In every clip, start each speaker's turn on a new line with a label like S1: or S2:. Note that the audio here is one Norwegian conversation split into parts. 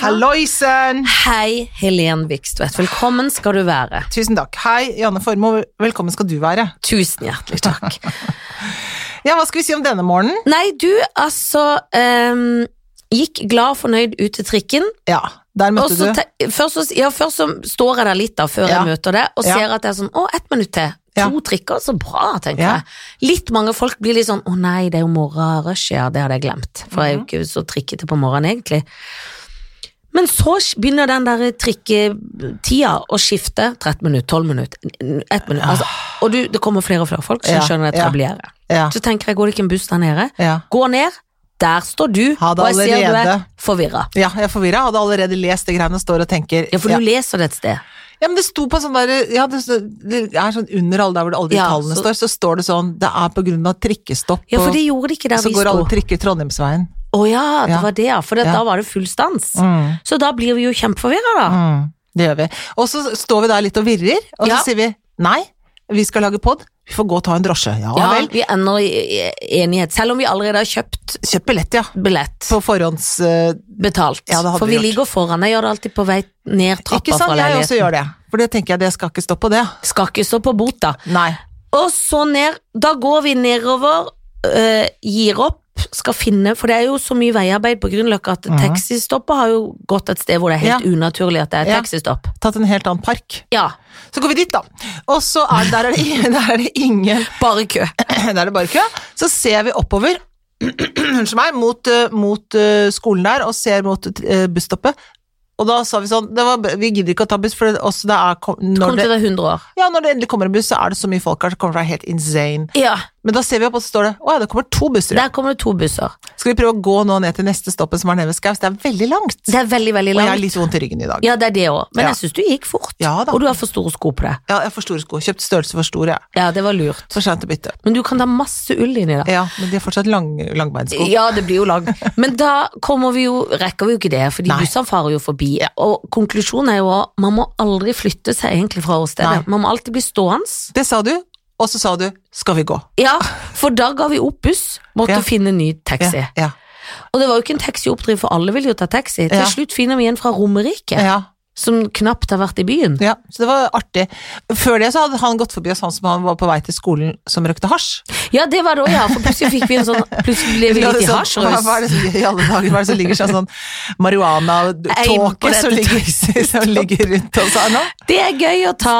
S1: Halloisen!
S2: Hei, Helen Vikstvedt. Velkommen skal du være.
S1: Tusen takk. Hei, Janne Formoe. Velkommen skal du være.
S2: Tusen hjertelig takk.
S1: Ja, Hva skal vi si om denne morgenen?
S2: Nei, du altså ehm, gikk glad og fornøyd ut til trikken.
S1: Ja, der
S2: Og
S1: møtte
S2: så
S1: du
S2: te- først, så, ja, først så står jeg der litt da, før
S1: Ja.
S2: jeg møter det, og
S1: Ja.
S2: ser at det er sånn å, ett minutt til.
S1: Ja.
S2: To trikker, så bra, tenker
S1: Ja.
S2: jeg. Litt mange folk blir litt sånn å nei, det er jo morgenrush, ja, det hadde jeg glemt. For
S1: Mhm.
S2: jeg er jo ikke så trikkete på morgenen, egentlig. Men så begynner den der trikketida å skifte. 13 minutt, 12 minutt, 1 minutt. Altså, og du, det kommer flere og flere folk, så
S1: Ja,
S2: jeg skjønner jeg
S1: ja.
S2: trablerer.
S1: Ja.
S2: Så tenker jeg, går det ikke en buss der nede?
S1: ja.
S2: Gå ned, der står du,
S1: Hadde
S2: og jeg ser du
S1: allerede-
S2: er forvirra.
S1: Ja, jeg er forvirra. Hadde allerede lest det greiene og står og tenker
S2: Ja, for
S1: ja.
S2: du leser det et sted.
S1: ja, men det sto på sånn der Ja, det, sto- det er sånn under alle der hvor det alle de
S2: Ja,
S1: tallene
S2: så-
S1: står, så står det sånn Det er på grunn av trikkestopp,
S2: Ja, for
S1: og
S2: det gjorde de ikke der
S1: så
S2: vi
S1: går alle
S2: sto.
S1: trikker Trondheimsveien.
S2: Å ja, det
S1: Ja.
S2: var det, ja. For
S1: Ja.
S2: da var det full stans.
S1: Mm.
S2: Så da blir vi jo kjempeforvirra, da.
S1: Mm, det gjør vi. Og så står vi der litt og virrer, og
S2: Ja.
S1: så sier vi nei, vi skal lage pod, vi får gå og ta en drosje. Ja,
S2: Ja,
S1: vel.
S2: vi ender i i enighet. Selv om vi allerede har kjøpt
S1: Kjøp billett, ja.
S2: billett.
S1: På forhånds... eh,
S2: Betalt.
S1: Ja, det hadde
S2: for
S1: vi
S2: vi
S1: gjort.
S2: ligger foran. Jeg gjør det alltid på vei ned trappa
S1: ikke sant,
S2: fra
S1: jeg også
S2: leiligheten.
S1: gjør det. For det tenker jeg, det skal ikke stå på det.
S2: Skal ikke stå på bot, da.
S1: Nei.
S2: Og så ned. Da går vi nedover, øh, gir opp, skal finne For det er jo så mye veiarbeid på Grünerløkka at
S1: Mhm.
S2: taxistoppet har jo gått et sted hvor det er helt unaturlig at det er
S1: Ja.
S2: taxistopp.
S1: Tatt en helt annen park.
S2: Ja,
S1: Så går vi dit, da. Og så er, der, er det, der er det ingen
S2: bare kø.
S1: Der er det bare kø. Så ser vi oppover, unnskyld meg, mot, eh, mot eh, skolen der, og ser mot eh, busstoppet. Og da sa vi sånn det var, Vi gidder ikke å ta buss, for det, også det er kom- når
S2: Kom
S1: det,
S2: til deg 100 år.
S1: Ja, når det endelig kommer en buss, så er det så mye folk her, så kommer det helt insane.
S2: Ja,
S1: Men da ser vi opp, og så står det Å ja, det kommer to busser.
S2: Der kommer det to busser.
S1: Skal vi prøve å gå nå ned til neste stoppet som er nede ved Skaus? Det er veldig langt.
S2: Det er veldig, veldig
S1: Og jeg har
S2: langt.
S1: litt vondt i ryggen i dag.
S2: Ja, det er det òg. Men
S1: Ja.
S2: jeg syns du gikk fort.
S1: Ja da.
S2: Og du har for store sko på deg.
S1: Ja, jeg har for store sko. Kjøpt størrelse for store. jeg.
S2: Ja, det var lurt.
S1: For sent å bytte.
S2: Men du kan ta masse ull inni da.
S1: Ja, men de har fortsatt lang, langbeinsko.
S2: Ja, det blir jo lang. Men da kommer vi jo, rekker vi jo ikke det, fordi
S1: Nei.
S2: bussene farer jo forbi. Og konklusjonen er jo at man må aldri flytte seg egentlig fra åstedet.
S1: Nei.
S2: Man må alltid bli stående.
S1: Det sa du, og så sa du 'skal vi gå'?
S2: Ja, for da ga vi opp buss, måtte
S1: Ja.
S2: finne ny taxi.
S1: Ja, ja,
S2: Og det var jo ikke en taxi å oppdrive, for alle ville jo ta taxi. Til
S1: Ja.
S2: slutt finner vi en fra Romerike,
S1: ja,
S2: som knapt har vært i byen.
S1: ja. Så det var artig. Før det så hadde han gått forbi oss, han som han var på vei til skolen som røkte hasj.
S2: Ja, det var det òg, ja, for plutselig fikk vi en sånn Plutselig ble vi
S1: Ja,
S2: litt
S1: det
S2: i
S1: er sånn, Hva,
S2: hasjrus.
S1: hva er det som- i alle dager, hva er det som ligger sånn, sånn
S2: Aim på
S1: marihuana-tåke
S2: dette
S1: som, ligger- som ligger rundt oss her nå?
S2: Det er gøy å ta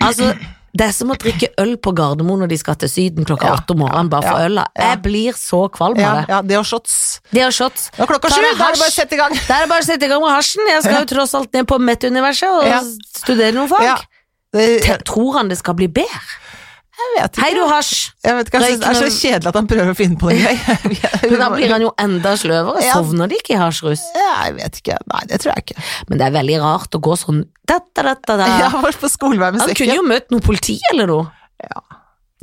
S2: Altså, det er som å drikke øl på Gardermoen når de skal til Syden klokka
S1: Ja,
S2: åtte om morgenen bare for
S1: ja,
S2: øla.
S1: ja.
S2: Jeg blir så kvalm
S1: Ja,
S2: av det.
S1: ja, det og shots.
S2: Det er shots.
S1: Nå er klokka
S2: Ta
S1: sju,
S2: deg
S1: da er det
S2: hasj.
S1: bare å sette i gang.
S2: Da er det bare å sette i gang med hasjen. Jeg skal jo tross alt ned på MET-universet og
S1: Ja.
S2: studere noen fag.
S1: Ja. Det,
S2: Te- Tror han det skal bli bedre?
S1: jeg vet ikke.
S2: Hei, du hasj!
S1: Jeg vet ikke, jeg synes det er så kjedelig at han prøver å finne på noe gøy.
S2: Men da blir han jo enda sløvere.
S1: Ja.
S2: Sovner de ikke i hasjrus?
S1: Ja, Jeg vet ikke. Nei, det tror jeg ikke.
S2: Men det er veldig rart å gå sånn da, da, da, da, da.
S1: Jeg var på skolevei med
S2: Han kunne
S1: sekken.
S2: jo møtt noe politi eller noe.
S1: Ja.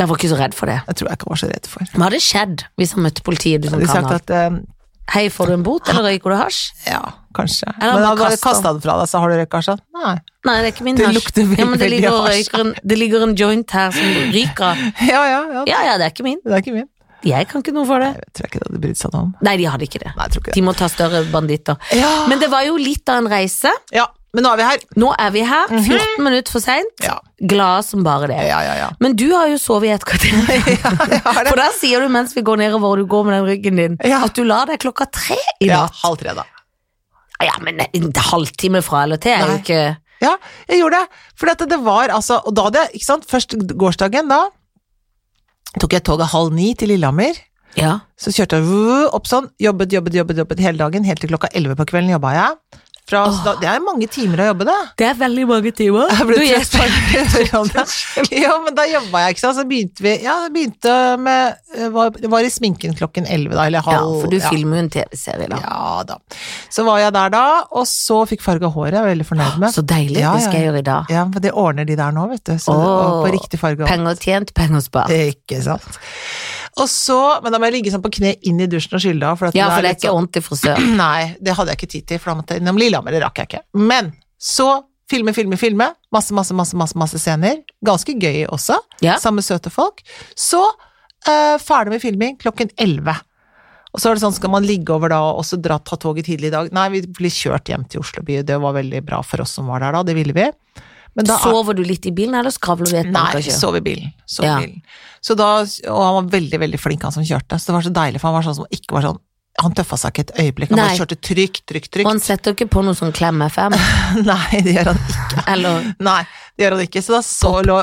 S2: Jeg var ikke så redd for det.
S1: Jeg tror jeg ikke var så redd for.
S2: Hva hadde skjedd hvis han møtte politiet? Du som
S1: De
S2: kan
S1: sagt
S2: alt?
S1: at eh,
S2: Hei, får du en bot, eller røyker du hasj?
S1: ja, kanskje.
S2: Eller
S1: Men
S2: bare
S1: han bare
S2: kastet.
S1: kasta den fra deg, så har du røyka sånn? Nei.
S2: Nei, det er ikke min
S1: Det
S2: hasj.
S1: lukter veldig,
S2: ja, men det
S1: veldig
S2: ligger, og
S1: hasj.
S2: røyker en, det ligger en joint her som ryker av.
S1: Ja, ja, ja.
S2: Ja, ja, det er ikke min.
S1: Det er ikke min.
S2: Jeg kan ikke noe for det.
S1: Jeg tror ikke det hadde brydd seg noe om.
S2: Nei, de hadde ikke det.
S1: Nei, jeg tror ikke det.
S2: De må ta større banditter.
S1: Ja. Men,
S2: Men det var jo litt av en reise.
S1: ja, men nå er vi her.
S2: Nå er vi her, 14 minutter for seint.
S1: Ja,
S2: Glade som bare det.
S1: Mhm. ja, ja. ja.
S2: Men du har jo sovet i et kvarter.
S1: Jeg har det.
S2: For da sier du mens vi går nedover og du går med den ryggen din,
S1: Ja.
S2: at du la deg klokka tre i
S1: Ja,
S2: natt.
S1: halv tre, da.
S2: Ja, men en halvtime fra eller til er jo
S1: Nei.
S2: ikke
S1: Ja, jeg gjorde det. For at det var altså Og da hadde jeg, ikke sant, først gårsdagen, da tok jeg toget halv ni til Lillehammer.
S2: Ja.
S1: Så kjørte jeg vuu, opp sånn, jobbet, jobbet, jobbet, jobbet hele dagen, helt til klokka 11 på kvelden jobba jeg. Fra, så da, det er mange timer å jobbe, det.
S2: Det er veldig mange timer.
S1: Jeg ble
S2: Du
S1: trøtt
S2: gjesper.
S1: på det. Jo, men da jobba jeg, ikke sant. Så begynte vi Ja, det begynte med eh, var, var i sminken klokken 11, da, eller
S2: Ja,
S1: halv
S2: for du
S1: ja.
S2: filmer jo en TV-serie, da.
S1: Ja da. Så var jeg der da, og så fikk farga håret, jeg var veldig fornøyd med.
S2: Så deilig.
S1: Ja,
S2: Det skal jeg
S1: ja.
S2: gjøre i dag.
S1: Ja, for det ordner de der nå, vet du. Så,
S2: Åh,
S1: og på riktig farge. og-
S2: Penger tjent, penger spart.
S1: Ikke sant. Og så Men da må jeg ligge sånn på kne inn i dusjen og skylle av. For at du
S2: Ja, for det er
S1: litt
S2: ikke
S1: sånn-
S2: ordentlig frisør.
S1: Nei, det hadde jeg ikke tid til, for da måtte jeg innom Lillehammer, det rakk jeg ikke. Men så filme, filme, filme. Masse, masse, masse, masse, masse scener. Ganske gøy også.
S2: Ja.
S1: Samme søte folk. Så eh, ferdig med filming klokken 11. Og så er det sånn, skal man ligge over da og så dra, ta toget tidlig i dag? Nei, vi blir kjørt hjem til Oslo by, det var veldig bra for oss som var der da, det ville vi. Men da
S2: Sover du litt i bilen, eller skravler du i et
S1: Nei,
S2: bankasjø?
S1: sov i bilen. Sov i
S2: Ja.
S1: bilen. Så da, og han var veldig veldig flink, han som kjørte. Så det var så deilig, for han var sånn som ikke var sånn Han tøffa seg ikke et øyeblikk. Han
S2: Nei.
S1: bare kjørte trygt, trygt,
S2: Og
S1: trygt.
S2: han setter jo ikke på noe sånn Klem FM,
S1: Nei, det gjør han ikke.
S2: eller
S1: Nei, det gjør han ikke. Så da så lå,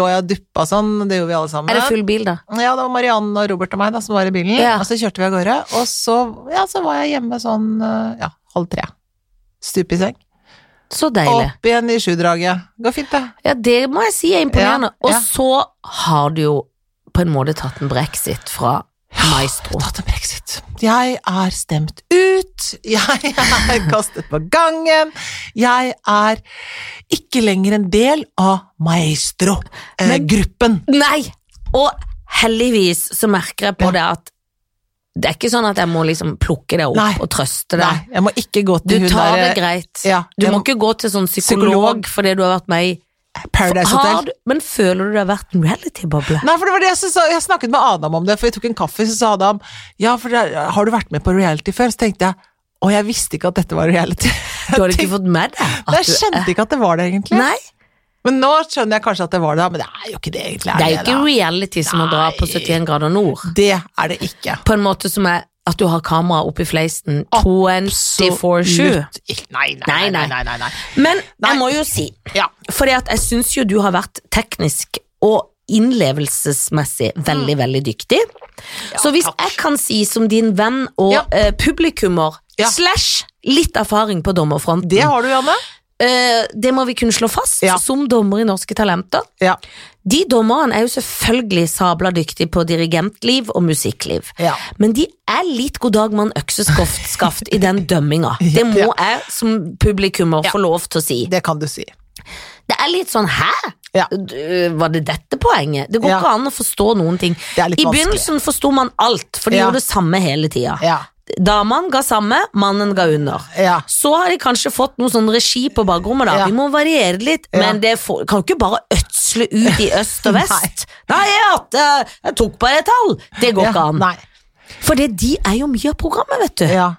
S1: lå jeg og duppa sånn, det gjorde vi alle sammen.
S2: Er det full bil, da?
S1: Ja, det var Marianne og Robert og meg da, som var i bilen,
S2: Ja.
S1: og så kjørte vi av gårde. Og så, ja, så var jeg hjemme sånn eh, ja, halv tre. Stup i seng.
S2: Så deilig.
S1: Opp igjen i sjudraget. Går fint, det.
S2: Ja, det må jeg si er imponerende.
S1: Ja, ja.
S2: Og så har du jo på en måte tatt en brexit fra Maestro.
S1: tatt en brexit. Jeg er stemt ut, jeg er kastet på gangen, jeg er ikke lenger en del av eh,
S2: Men-
S1: Maestro-gruppen.
S2: Nei! Og heldigvis så merker jeg på
S1: Ja.
S2: det at det er ikke sånn at jeg må liksom plukke deg opp
S1: Nei.
S2: og trøste
S1: Nei,
S2: deg.
S1: jeg må ikke gå
S2: Du
S1: til hun
S2: tar
S1: der eh,
S2: det greit.
S1: ja,
S2: Du
S1: jeg
S2: må
S1: må-
S2: ikke gå til sånn psykolog,
S1: Psykolog.
S2: fordi du har vært med i
S1: Paradise
S2: har
S1: Hotel.
S2: du, Men føler du det har vært en reality-boble?
S1: Nei, for det var det jeg, synes, jeg snakket med Adam om det, for vi tok en kaffe, så sa Adam ja, for det, er- har du vært med på reality før? Så tenkte jeg å, jeg visste ikke at dette var reality.
S2: Du hadde ikke fått med deg at
S1: Jeg
S2: du
S1: skjønte ikke at det var det, egentlig.
S2: Nei,
S1: Men nå skjønner jeg kanskje at det var det, men det er jo ikke det, egentlig.
S2: det er jo
S1: det,
S2: ikke
S1: da?
S2: reality som å dra på
S1: Nei.
S2: 71 grader nord.
S1: det er det ikke.
S2: På en måte som er at du har kamera oppi fleisen
S1: Absolutt
S2: 24-7.
S1: ikke. Nei, nei, nei.
S2: Nei, nei.
S1: nei, nei, nei.
S2: Men
S1: Nei.
S2: jeg må jo si,
S1: Ja.
S2: fordi at jeg syns jo du har vært teknisk og innlevelsesmessig veldig, veldig dyktig. Så hvis
S1: Mm. takk.
S2: jeg kan si som din venn og
S1: Ja.
S2: eh, publikummer
S1: Ja.
S2: slash litt erfaring på dommerfronten,
S1: Det har du, Janne.
S2: eh, det må vi kunne slå fast
S1: Ja.
S2: som dommer i Norske Talenter.
S1: Ja.
S2: De dommerne er jo selvfølgelig sabla dyktige på dirigentliv og musikkliv.
S1: Ja.
S2: Men de er litt god dag mann økseskaft skaft i den dømminga. Det må
S1: Ja.
S2: jeg som publikummer få lov til å si.
S1: Det kan du si.
S2: Det er litt sånn hæ?
S1: Ja.
S2: Du, Var det dette poenget? Det går
S1: Ja.
S2: ikke an å forstå noen ting.
S1: Det er litt
S2: I
S1: vanskelig.
S2: begynnelsen forsto man alt, for de
S1: Ja.
S2: gjorde det samme hele tida.
S1: Ja.
S2: Damene ga samme, mannen ga under.
S1: Ja.
S2: Så har de kanskje fått noe sånn regi på bakrommet, da.
S1: Ja.
S2: Vi må variere det litt,
S1: Ja.
S2: men det får, kan jo ikke bare ødsle ut i øst og vest. Nei, jeg, hadde, jeg tok bare et tall! Det går
S1: ja.
S2: ikke an.
S1: Nei.
S2: For det, de er jo mye av programmet, vet du.
S1: Ja.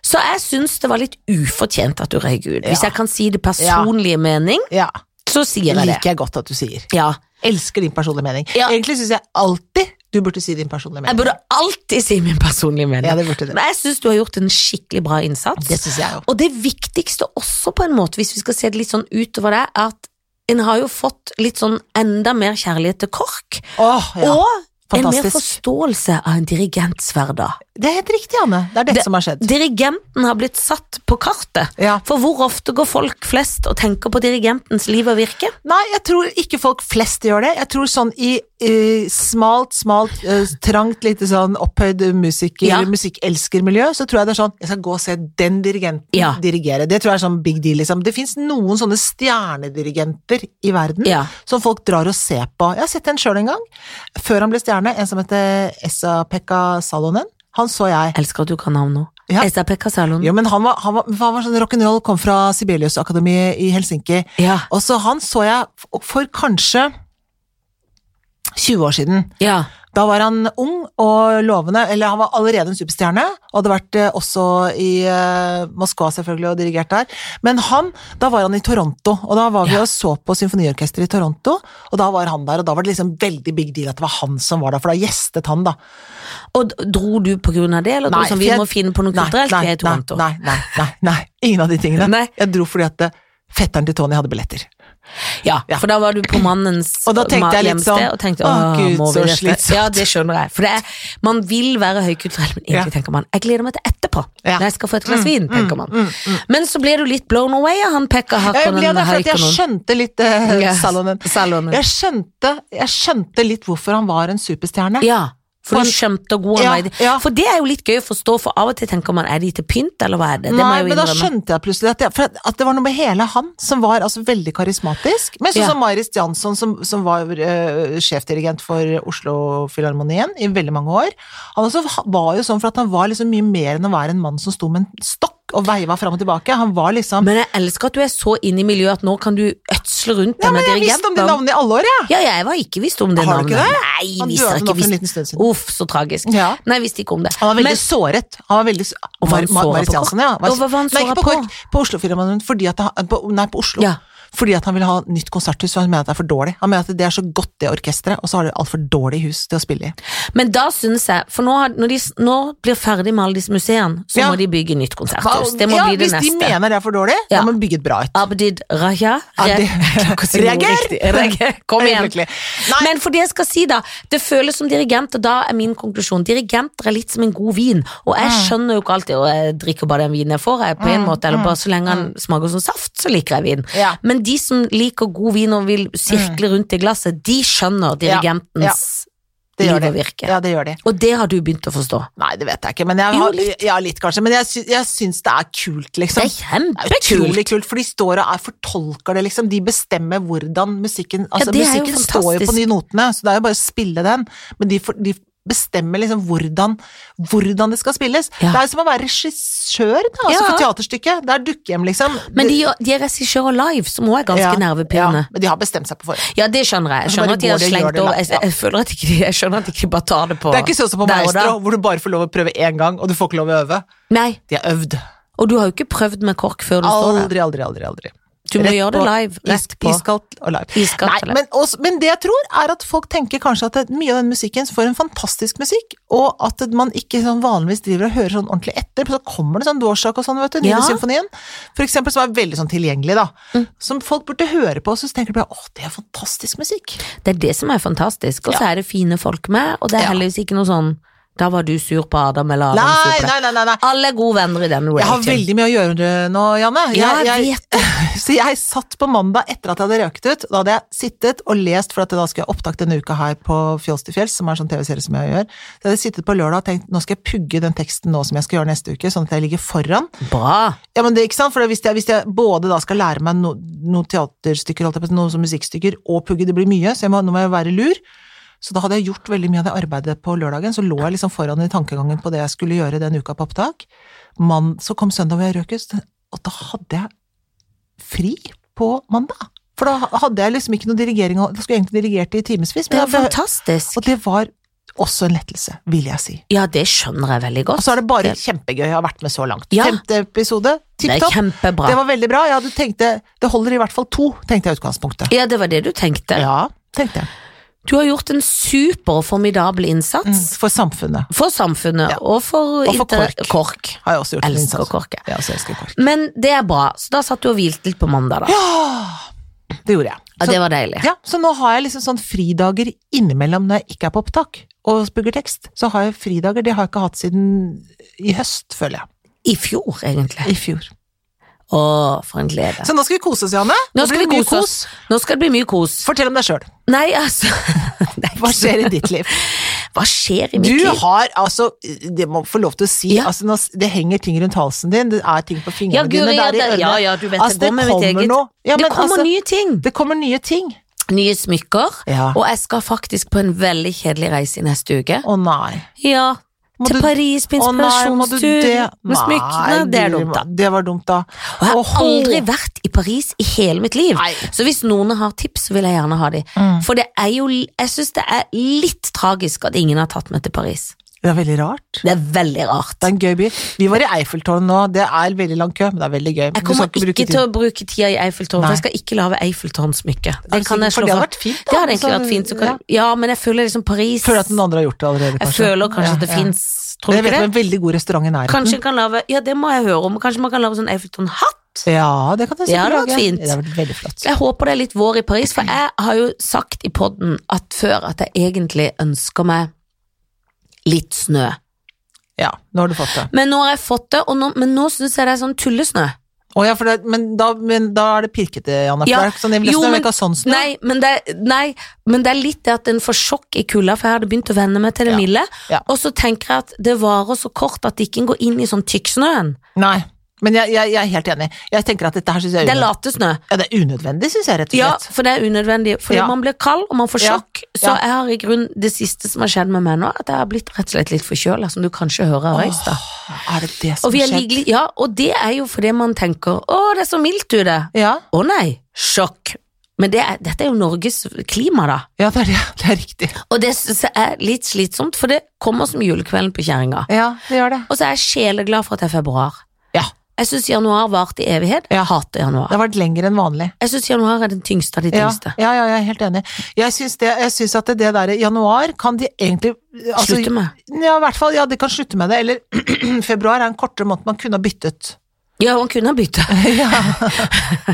S2: Så jeg syns det var litt ufortjent at du røyk ut. Hvis
S1: Ja.
S2: jeg kan si det personlige mening,
S1: ja.
S2: så sier
S1: Det
S2: jeg det.
S1: liker jeg godt at du sier.
S2: Ja.
S1: Elsker din personlige mening.
S2: Ja.
S1: Egentlig syns jeg alltid du burde si din personlige
S2: Jeg
S1: mening.
S2: burde alltid si min personlige mening.
S1: Ja, det burde det.
S2: Men jeg syns du har gjort en skikkelig bra innsats.
S1: Det syns jeg jo.
S2: Og det viktigste også, på en måte, hvis vi skal se det litt sånn utover det, er at en har jo fått litt sånn enda mer kjærlighet til KORK.
S1: Åh, ja.
S2: Og en mer
S1: Fantastisk.
S2: forståelse av en dirigents hverdag.
S1: Det er helt riktig, Anne. Det er dette
S2: Det-
S1: som har skjedd.
S2: Dirigenten har blitt satt på kartet.
S1: Ja.
S2: For hvor ofte går folk flest og tenker på dirigentens liv og virke?
S1: Nei, jeg tror ikke folk flest gjør det. Jeg tror sånn i, eh, smalt, smalt, eh, trangt, lite sånn opphøyd musiker,
S2: Ja.
S1: musikkelsker-miljø, så tror jeg det er sånn Jeg skal gå og se den dirigenten
S2: Ja.
S1: dirigere. Det tror jeg er sånn big deal, liksom. Det fins noen sånne stjernedirigenter i verden
S2: Ja.
S1: som folk drar og ser på. Jeg har sett en sjøl en gang, før han ble stjerne, en som heter Esa-Pekka Salonen. Han så jeg.
S2: Elsker at du kan navn nå.
S1: Ja.
S2: SAP Salon.
S1: Jo, men han var, han var, han var sånn rock'n'roll, kom fra Sibelius-akademiet i Helsinki.
S2: Ja.
S1: Og så han så jeg f- for kanskje 20 år siden.
S2: ja.
S1: Da var han ung og lovende, eller han var allerede en superstjerne, og hadde vært eh, også i eh, Moskva selvfølgelig og dirigert der. Men han, da var han i Toronto, og da var vi
S2: Ja.
S1: og så på symfoniorkesteret i Toronto, og da var han der, og da var det liksom veldig big deal at det var han som var der, for da gjestet han da.
S2: Og d- dro du på grunn av det, eller nei,
S1: Nei,
S2: sånn,
S1: for
S2: vi
S1: jeg-
S2: må finne på noe
S1: Nei,
S2: kulturelt?
S1: nei,
S2: vi er i Toronto.
S1: Nei, nei, nei, nei, ingen av de tingene.
S2: Nei.
S1: Jeg dro fordi at eh, fetteren til Tony hadde billetter.
S2: Ja,
S1: Ja.
S2: for da var du på mannens
S1: Og da tenkte
S2: ma-
S1: jeg litt
S2: hjemsted,
S1: sånn,
S2: og
S1: å
S2: tenkte, «Åh,
S1: Gud,
S2: må vi
S1: så
S2: dette?»
S1: slitsomt.
S2: Ja, det skjønner jeg. For det er, man vil være høykulturell, men egentlig tenker man jeg gleder meg til etterpå,
S1: Ja. Mm,
S2: når jeg skal få et glass vin. tenker man. Men så ble du litt blown away av han Pekka
S1: Jeg ble
S2: Hakkonen
S1: det for at jeg
S2: Haikonen.
S1: skjønte litt eh,
S2: Ja,
S1: Salonen.
S2: Salonen.
S1: Jeg skjønte, jeg skjønte litt hvorfor han var en superstjerne.
S2: Ja, for
S1: For-
S2: du skjømte og god
S1: Ja,
S2: anvei.
S1: ja.
S2: For det er jo litt gøy å forstå, for av og til tenker man er de til pynt, eller hva er det? Det må
S1: Nei,
S2: jeg jo
S1: men da
S2: innrømme.
S1: skjønte jeg plutselig at, jeg, for at- at det var noe med hele han som var altså veldig karismatisk. Men sånn
S2: Ja.
S1: som Marit Jansson, som, som var eh, sjefdirigent for Oslo-filharmonien i veldig mange år. Han også ha- var jo sånn for at han var liksom mye mer enn å være en mann som sto med en stokk. og veiva fram og tilbake. Han var liksom
S2: Men jeg elsker at du er så inne i miljøet at nå kan du ødsle rundt
S1: Ja,
S2: denne
S1: men jeg visste om de
S2: dirigenten.
S1: navnene i alle år, jeg!
S2: Ja, jeg var ikke visst om det
S1: Har du
S2: navnet.
S1: ikke
S2: Nei,
S1: Han
S2: visste
S1: døde
S2: ikke
S1: nå for en
S2: visst.
S1: liten stund siden.
S2: Uff, så tragisk.
S1: Ja.
S2: Nei, visste ikke om det.
S1: Han var veldig
S2: Men-
S1: såret. Han var veldig s-
S2: Og var han
S1: Ma-
S2: såret
S1: Marit
S2: på
S1: Jansen,
S2: Kork?
S1: ja.
S2: Og hva var han
S1: nei, ikke
S2: såret
S1: på
S2: på?
S1: Kork, på Oslo-filharmonien. fordi at han- på- Nei, på Oslo.
S2: Ja.
S1: Fordi at han ville ha nytt konserthus, og han mener at det er for dårlig. Han mener at det er så godt, det orkesteret, og så har de altfor dårlig hus til å spille i.
S2: Men da syns jeg For nå, har- når de s- nå blir ferdig med alle disse museene, så
S1: Ja.
S2: må de bygge nytt konserthus. Det må
S1: ja,
S2: bli det
S1: hvis de
S2: neste.
S1: mener det er for dårlig,
S2: Ja.
S1: da må vi bygge et bra et.
S2: Abdid Raja
S1: Ja, det- Reager!
S2: Reager! Kom
S1: Helt
S2: igjen.
S1: lykkelig. Nei,
S2: Men for det jeg skal si da Det føles som dirigent, og da er min konklusjon Dirigenter er litt som en god vin Og jeg
S1: Mm.
S2: skjønner jo ikke alltid Og jeg drikker bare den vinen jeg får jeg, På en
S1: Mm,
S2: måte,
S1: mm,
S2: eller bare så lenge den smaker som saft Så liker jeg vin
S1: Ja.
S2: Men de som liker god vin og vil sirkle rundt i glasset De skjønner
S1: Mm. Ja, ja,
S2: dirigentens
S1: det gjør
S2: liv
S1: de.
S2: og virke
S1: ja, det gjør de.
S2: Og det har du begynt å forstå
S1: Nei, det vet jeg ikke, men jeg,
S2: Jo,
S1: har,
S2: litt.
S1: ja, litt kanskje. Men jeg, sy jeg syns det er kult, liksom.
S2: Det er kjempekult
S1: Utrolig kult, for de står og er, fortolker det, liksom. De bestemmer hvordan musikken Altså,
S2: det er jo
S1: musikken står jo på
S2: fantastisk.
S1: de notene, så det er jo bare å spille den, men de, for, de bestemmer liksom hvordan, hvordan det skal spilles.
S2: Ja.
S1: Det er jo som å være regissør, da, altså
S2: Ja.
S1: for teaterstykket. Det er dukkehjem, liksom.
S2: Men de, de er regissører live Som også er ganske nervepirrende
S1: Ja, men de har bestemt seg på forhånd.
S2: Ja, det skjønner jeg. Jeg
S1: Så
S2: skjønner
S1: bare
S2: at de har
S1: går det og gjør
S2: slengt
S1: det
S2: over
S1: langt,
S2: jeg,
S1: ja.
S2: jeg, føler at ikke de, jeg skjønner at ikke de bare tar det på
S1: Det er ikke sånn som på
S2: der og da.
S1: Maestro, hvor du bare får lov å prøve én gang, og du får ikke lov å øve.
S2: Nei,
S1: De har øvd.
S2: og du har jo ikke prøvd med kork før du står der.
S1: Aldri, aldri, aldri. aldri.
S2: Du må
S1: Rett
S2: gjøre det
S1: på
S2: live. Rett
S1: Isk-
S2: på.
S1: Iskaldt og live.
S2: Iskaldt
S1: Nei,
S2: og live.
S1: men, også, men det jeg tror, er at folk tenker kanskje at det, mye av den musikken får en fantastisk musikk, og at det- man ikke sånn vanligvis driver og hører sånn ordentlig etter, for så kommer det sånn Dvorsak og sånn, vet du,
S2: Ja. Mm.
S1: Nydelsymfonien, for eksempel, som er veldig sånn tilgjengelig, da. Som folk burde høre på, og så tenker de bare åh, det er fantastisk musikk.
S2: Det er det som er fantastisk. Og så
S1: Ja.
S2: er det fine folk med, og det er
S1: Ja.
S2: heldigvis ikke noe sånn da var du sur på Adam, eller Adam sur
S1: Nei,
S2: på deg.
S1: nei, nei, nei. nei.
S2: Alle er gode venner i den
S1: Jeg har
S2: realityen.
S1: veldig mye å gjøre nå, Janne.
S2: Ja, jeg vet
S1: Så jeg satt på mandag etter at jeg hadde røket ut. Da hadde jeg sittet og lest, for at da skulle jeg ha opptak denne uka her på Fjols til fjells, som er en sånn TV-serie som jeg gjør. Så jeg hadde sittet på lørdag og tenkt nå skal jeg pugge den teksten nå som jeg skal gjøre neste uke, sånn at jeg ligger foran.
S2: Bra.
S1: Ja, men det ikke sant, for hvis jeg, hvis jeg både da skal lære meg no- noen teaterstykker, holdt jeg på, å si, noen som musikkstykker, og pugge, det blir mye, så jeg må, nå må jeg være lur. Så da hadde jeg gjort veldig mye av det arbeidet på lørdagen, så lå jeg liksom foran i tankegangen på det jeg skulle gjøre den uka på opptak. Man, så kom søndag hvor jeg røk ut, og da hadde jeg fri på mandag. For da hadde jeg liksom ikke noe dirigering, å- da skulle jeg egentlig dirigert i timevis.
S2: Det
S1: men
S2: er
S1: jeg-
S2: fantastisk.
S1: Og det var også en lettelse, vil jeg si.
S2: Ja, det skjønner jeg veldig
S1: Og
S2: godt.
S1: så er det bare kjempegøy å ha vært med så langt.
S2: Ja.
S1: Femte episode,
S2: Det
S1: tipp
S2: er
S1: topp.
S2: kjempebra.
S1: Det var veldig bra. Jeg hadde tenkte, det holder i hvert fall to, tenkte jeg i utgangspunktet.
S2: Ja, det var det du tenkte.
S1: Ja, tenkte jeg.
S2: Du har gjort en super og formidabel
S1: Mm.
S2: innsats
S1: For samfunnet
S2: for samfunnet
S1: Ja.
S2: og for,
S1: Og for
S2: inter-
S1: KORK.
S2: KORK.
S1: har jeg også gjort en
S2: Elsker
S1: innsats.
S2: KORK.
S1: Ja, så elsker KORK.
S2: Men det er bra, så da satt du og hvilte litt på mandag, da.
S1: Det gjorde jeg.
S2: Ja,
S1: Så,
S2: det var deilig.
S1: ja, så nå har jeg liksom sånn fridager innimellom når jeg ikke er på opptak og spugger tekst. Så har jeg fridager, det har jeg ikke hatt siden i høst, føler jeg.
S2: I fjor, egentlig.
S1: I fjor.
S2: Å, for en glede.
S1: Så nå skal vi kose oss, Janne.
S2: Nå
S1: blir
S2: skal
S1: det
S2: vi
S1: mye
S2: kose oss. Nå skal det bli mye kos.
S1: kos. Fortell om deg sjøl.
S2: Nei, altså det er
S1: Hva
S2: ikke så-
S1: skjer i ditt liv?
S2: Hva skjer i mitt
S1: Du
S2: liv?
S1: har altså Det må få lov til å si.
S2: Ja.
S1: Altså, nå, s- det henger ting rundt halsen din, det er ting på fingrene
S2: Ja, guri,
S1: dine,
S2: ja,
S1: det er i ørene.
S2: det, ja, ja, du vet
S1: Altså,
S2: det går med mitt eget.
S1: noe. Ja,
S2: det
S1: men
S2: kommer
S1: altså,
S2: nye ting.
S1: Det kommer nye ting.
S2: Nye smykker.
S1: Ja.
S2: Og jeg skal faktisk på en veldig kjedelig reise i neste uke.
S1: Å nei.
S2: Ja,
S1: Må
S2: til
S1: du-
S2: Paris på
S1: Å nei, må du
S2: inspirasjonstur
S1: det?
S2: med smykkene.
S1: Nei,
S2: Det er
S1: Guri,
S2: dumt, da.
S1: Det var dumt, da.
S2: Og jeg har
S1: Åhå.
S2: aldri vært i Paris i hele mitt liv.
S1: Nei.
S2: Så hvis noen har tips, så vil jeg gjerne ha de.
S1: Mm.
S2: For det er jo, jeg syns det er litt tragisk at ingen har tatt meg til Paris.
S1: Det er veldig rart.
S2: Det er veldig rart.
S1: Det er en gøy by. Vi var i Eiffeltårnet nå, det er veldig lang kø, men det er veldig gøy.
S2: Jeg kommer ikke, til å bruke tida i Eiffeltårnet,
S1: Nei.
S2: for jeg skal ikke lage Eiffeltårnsmykke. Det kan jeg
S1: For
S2: slå
S1: det hadde
S2: fast.
S1: vært fint, da.
S2: Det hadde egentlig
S1: Så-
S2: vært fint. Så
S1: ja.
S2: kan, ja, men jeg føler liksom Paris
S1: Føler at noen andre har gjort det allerede,
S2: Jeg
S1: kanskje.
S2: føler kanskje at det
S1: Ja, ja.
S2: fins,
S1: Men
S2: tror du
S1: Jeg vet
S2: ikke
S1: om
S2: det?
S1: en veldig god restaurant i nærheten.
S2: Kanskje en kan lage Ja, det må jeg høre om. Kanskje man kan lage sånn Eiffeltårn-hatt?
S1: Ja, det kan jeg
S2: Det hadde
S1: sikkert
S2: vært fint.
S1: Det hadde vært veldig flott.
S2: Jeg håper det er litt vår i Paris, for jeg har jo sagt i podden at før at jeg egentlig ønsker meg litt snø.
S1: Ja, nå har du fått det.
S2: Men nå har jeg fått det, og nå, men nå syns jeg det er sånn tullesnø.
S1: Å ja, for det, men, da, men da er det pirkete, Janne. For
S2: Ja.
S1: det er ikke sånn, jeg vil
S2: Jo,
S1: nesten
S2: men-
S1: ikke ha sånn snø.
S2: Nei men, det, nei, men det er litt det at en får sjokk i kulda, for jeg hadde begynt å venne meg til det
S1: Ja.
S2: milde.
S1: Ja.
S2: Og så tenker jeg at det varer så kort at det ikke går inn i sånn tykksnøen.
S1: Nei. Men jeg, jeg, jeg er helt enig. Jeg tenker at dette her synes jeg
S2: Det
S1: er
S2: er
S1: unødvendig.
S2: latesnø.
S1: Ja, det er unødvendig, syns jeg, rett og
S2: Ja,
S1: slett.
S2: for det er unødvendig. Fordi
S1: Ja.
S2: man blir kald, og man får
S1: Ja.
S2: sjokk. Så
S1: Ja.
S2: jeg har i grunnen det siste som har skjedd med meg nå, at jeg har blitt rett og slett litt forkjøla, som du kanskje hører av røysta.
S1: Åh, er det det som
S2: Og, vi er
S1: skjer?
S2: ligelig- ja, og det er jo fordi man tenker 'Å, det er så mildt ute'.
S1: Ja.
S2: Å nei, sjokk. Men det er, dette er jo Norges klima, da.
S1: ja, det er det. Det er riktig.
S2: Og det synes jeg er litt slitsomt, for det kommer som julekvelden på kjerringa.
S1: Ja, det gjør det.
S2: Og så er jeg sjeleglad for at det er februar.
S1: Ja.
S2: Jeg syns januar varte i evighet.
S1: Ja.
S2: Jeg hater
S1: Det
S2: januar.
S1: har vært lenger enn vanlig.
S2: Jeg syns januar er den tyngste av de
S1: Ja,
S2: tyngste.
S1: ja, ja, jeg er helt enig. Jeg syns, det, jeg syns at det der i januar kan de egentlig altså,
S2: Slutter med.
S1: Ja, i hvert fall, ja, de kan slutte med det. Eller februar er en kortere måned man kunne ha byttet.
S2: Ja, man kunne ha bytta.
S1: ja.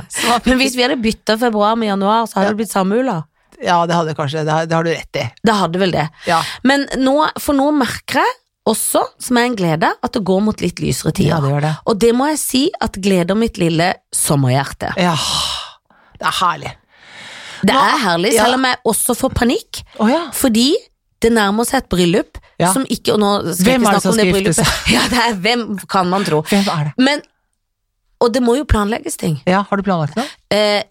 S1: Så man-
S2: Men hvis vi hadde bytta februar med januar, så hadde det blitt samme ula.
S1: ja, det hadde kanskje, det har, det har du rett i.
S2: Det hadde vel det.
S1: Ja.
S2: Men nå, for nå merker jeg også, som er en glede, at det går mot litt lysere
S1: ja,
S2: tider.
S1: det gjør det.
S2: Og det må jeg si at gleder mitt lille sommerhjerte.
S1: Ja, det er herlig.
S2: Det er herlig,
S1: ja.
S2: selv om jeg også får panikk,
S1: Å ja.
S2: fordi det nærmer seg et bryllup
S1: Ja.
S2: som ikke Og nå skal jeg
S1: Hvem er
S2: ikke
S1: det
S2: snakke om
S1: som
S2: det
S1: skal gifte
S2: bryllupet. Ja, det er hvem, kan man tro.
S1: Hvem er det?
S2: Men Og det må jo planlegges ting.
S1: Ja, har du planlagt noe?
S2: Eh,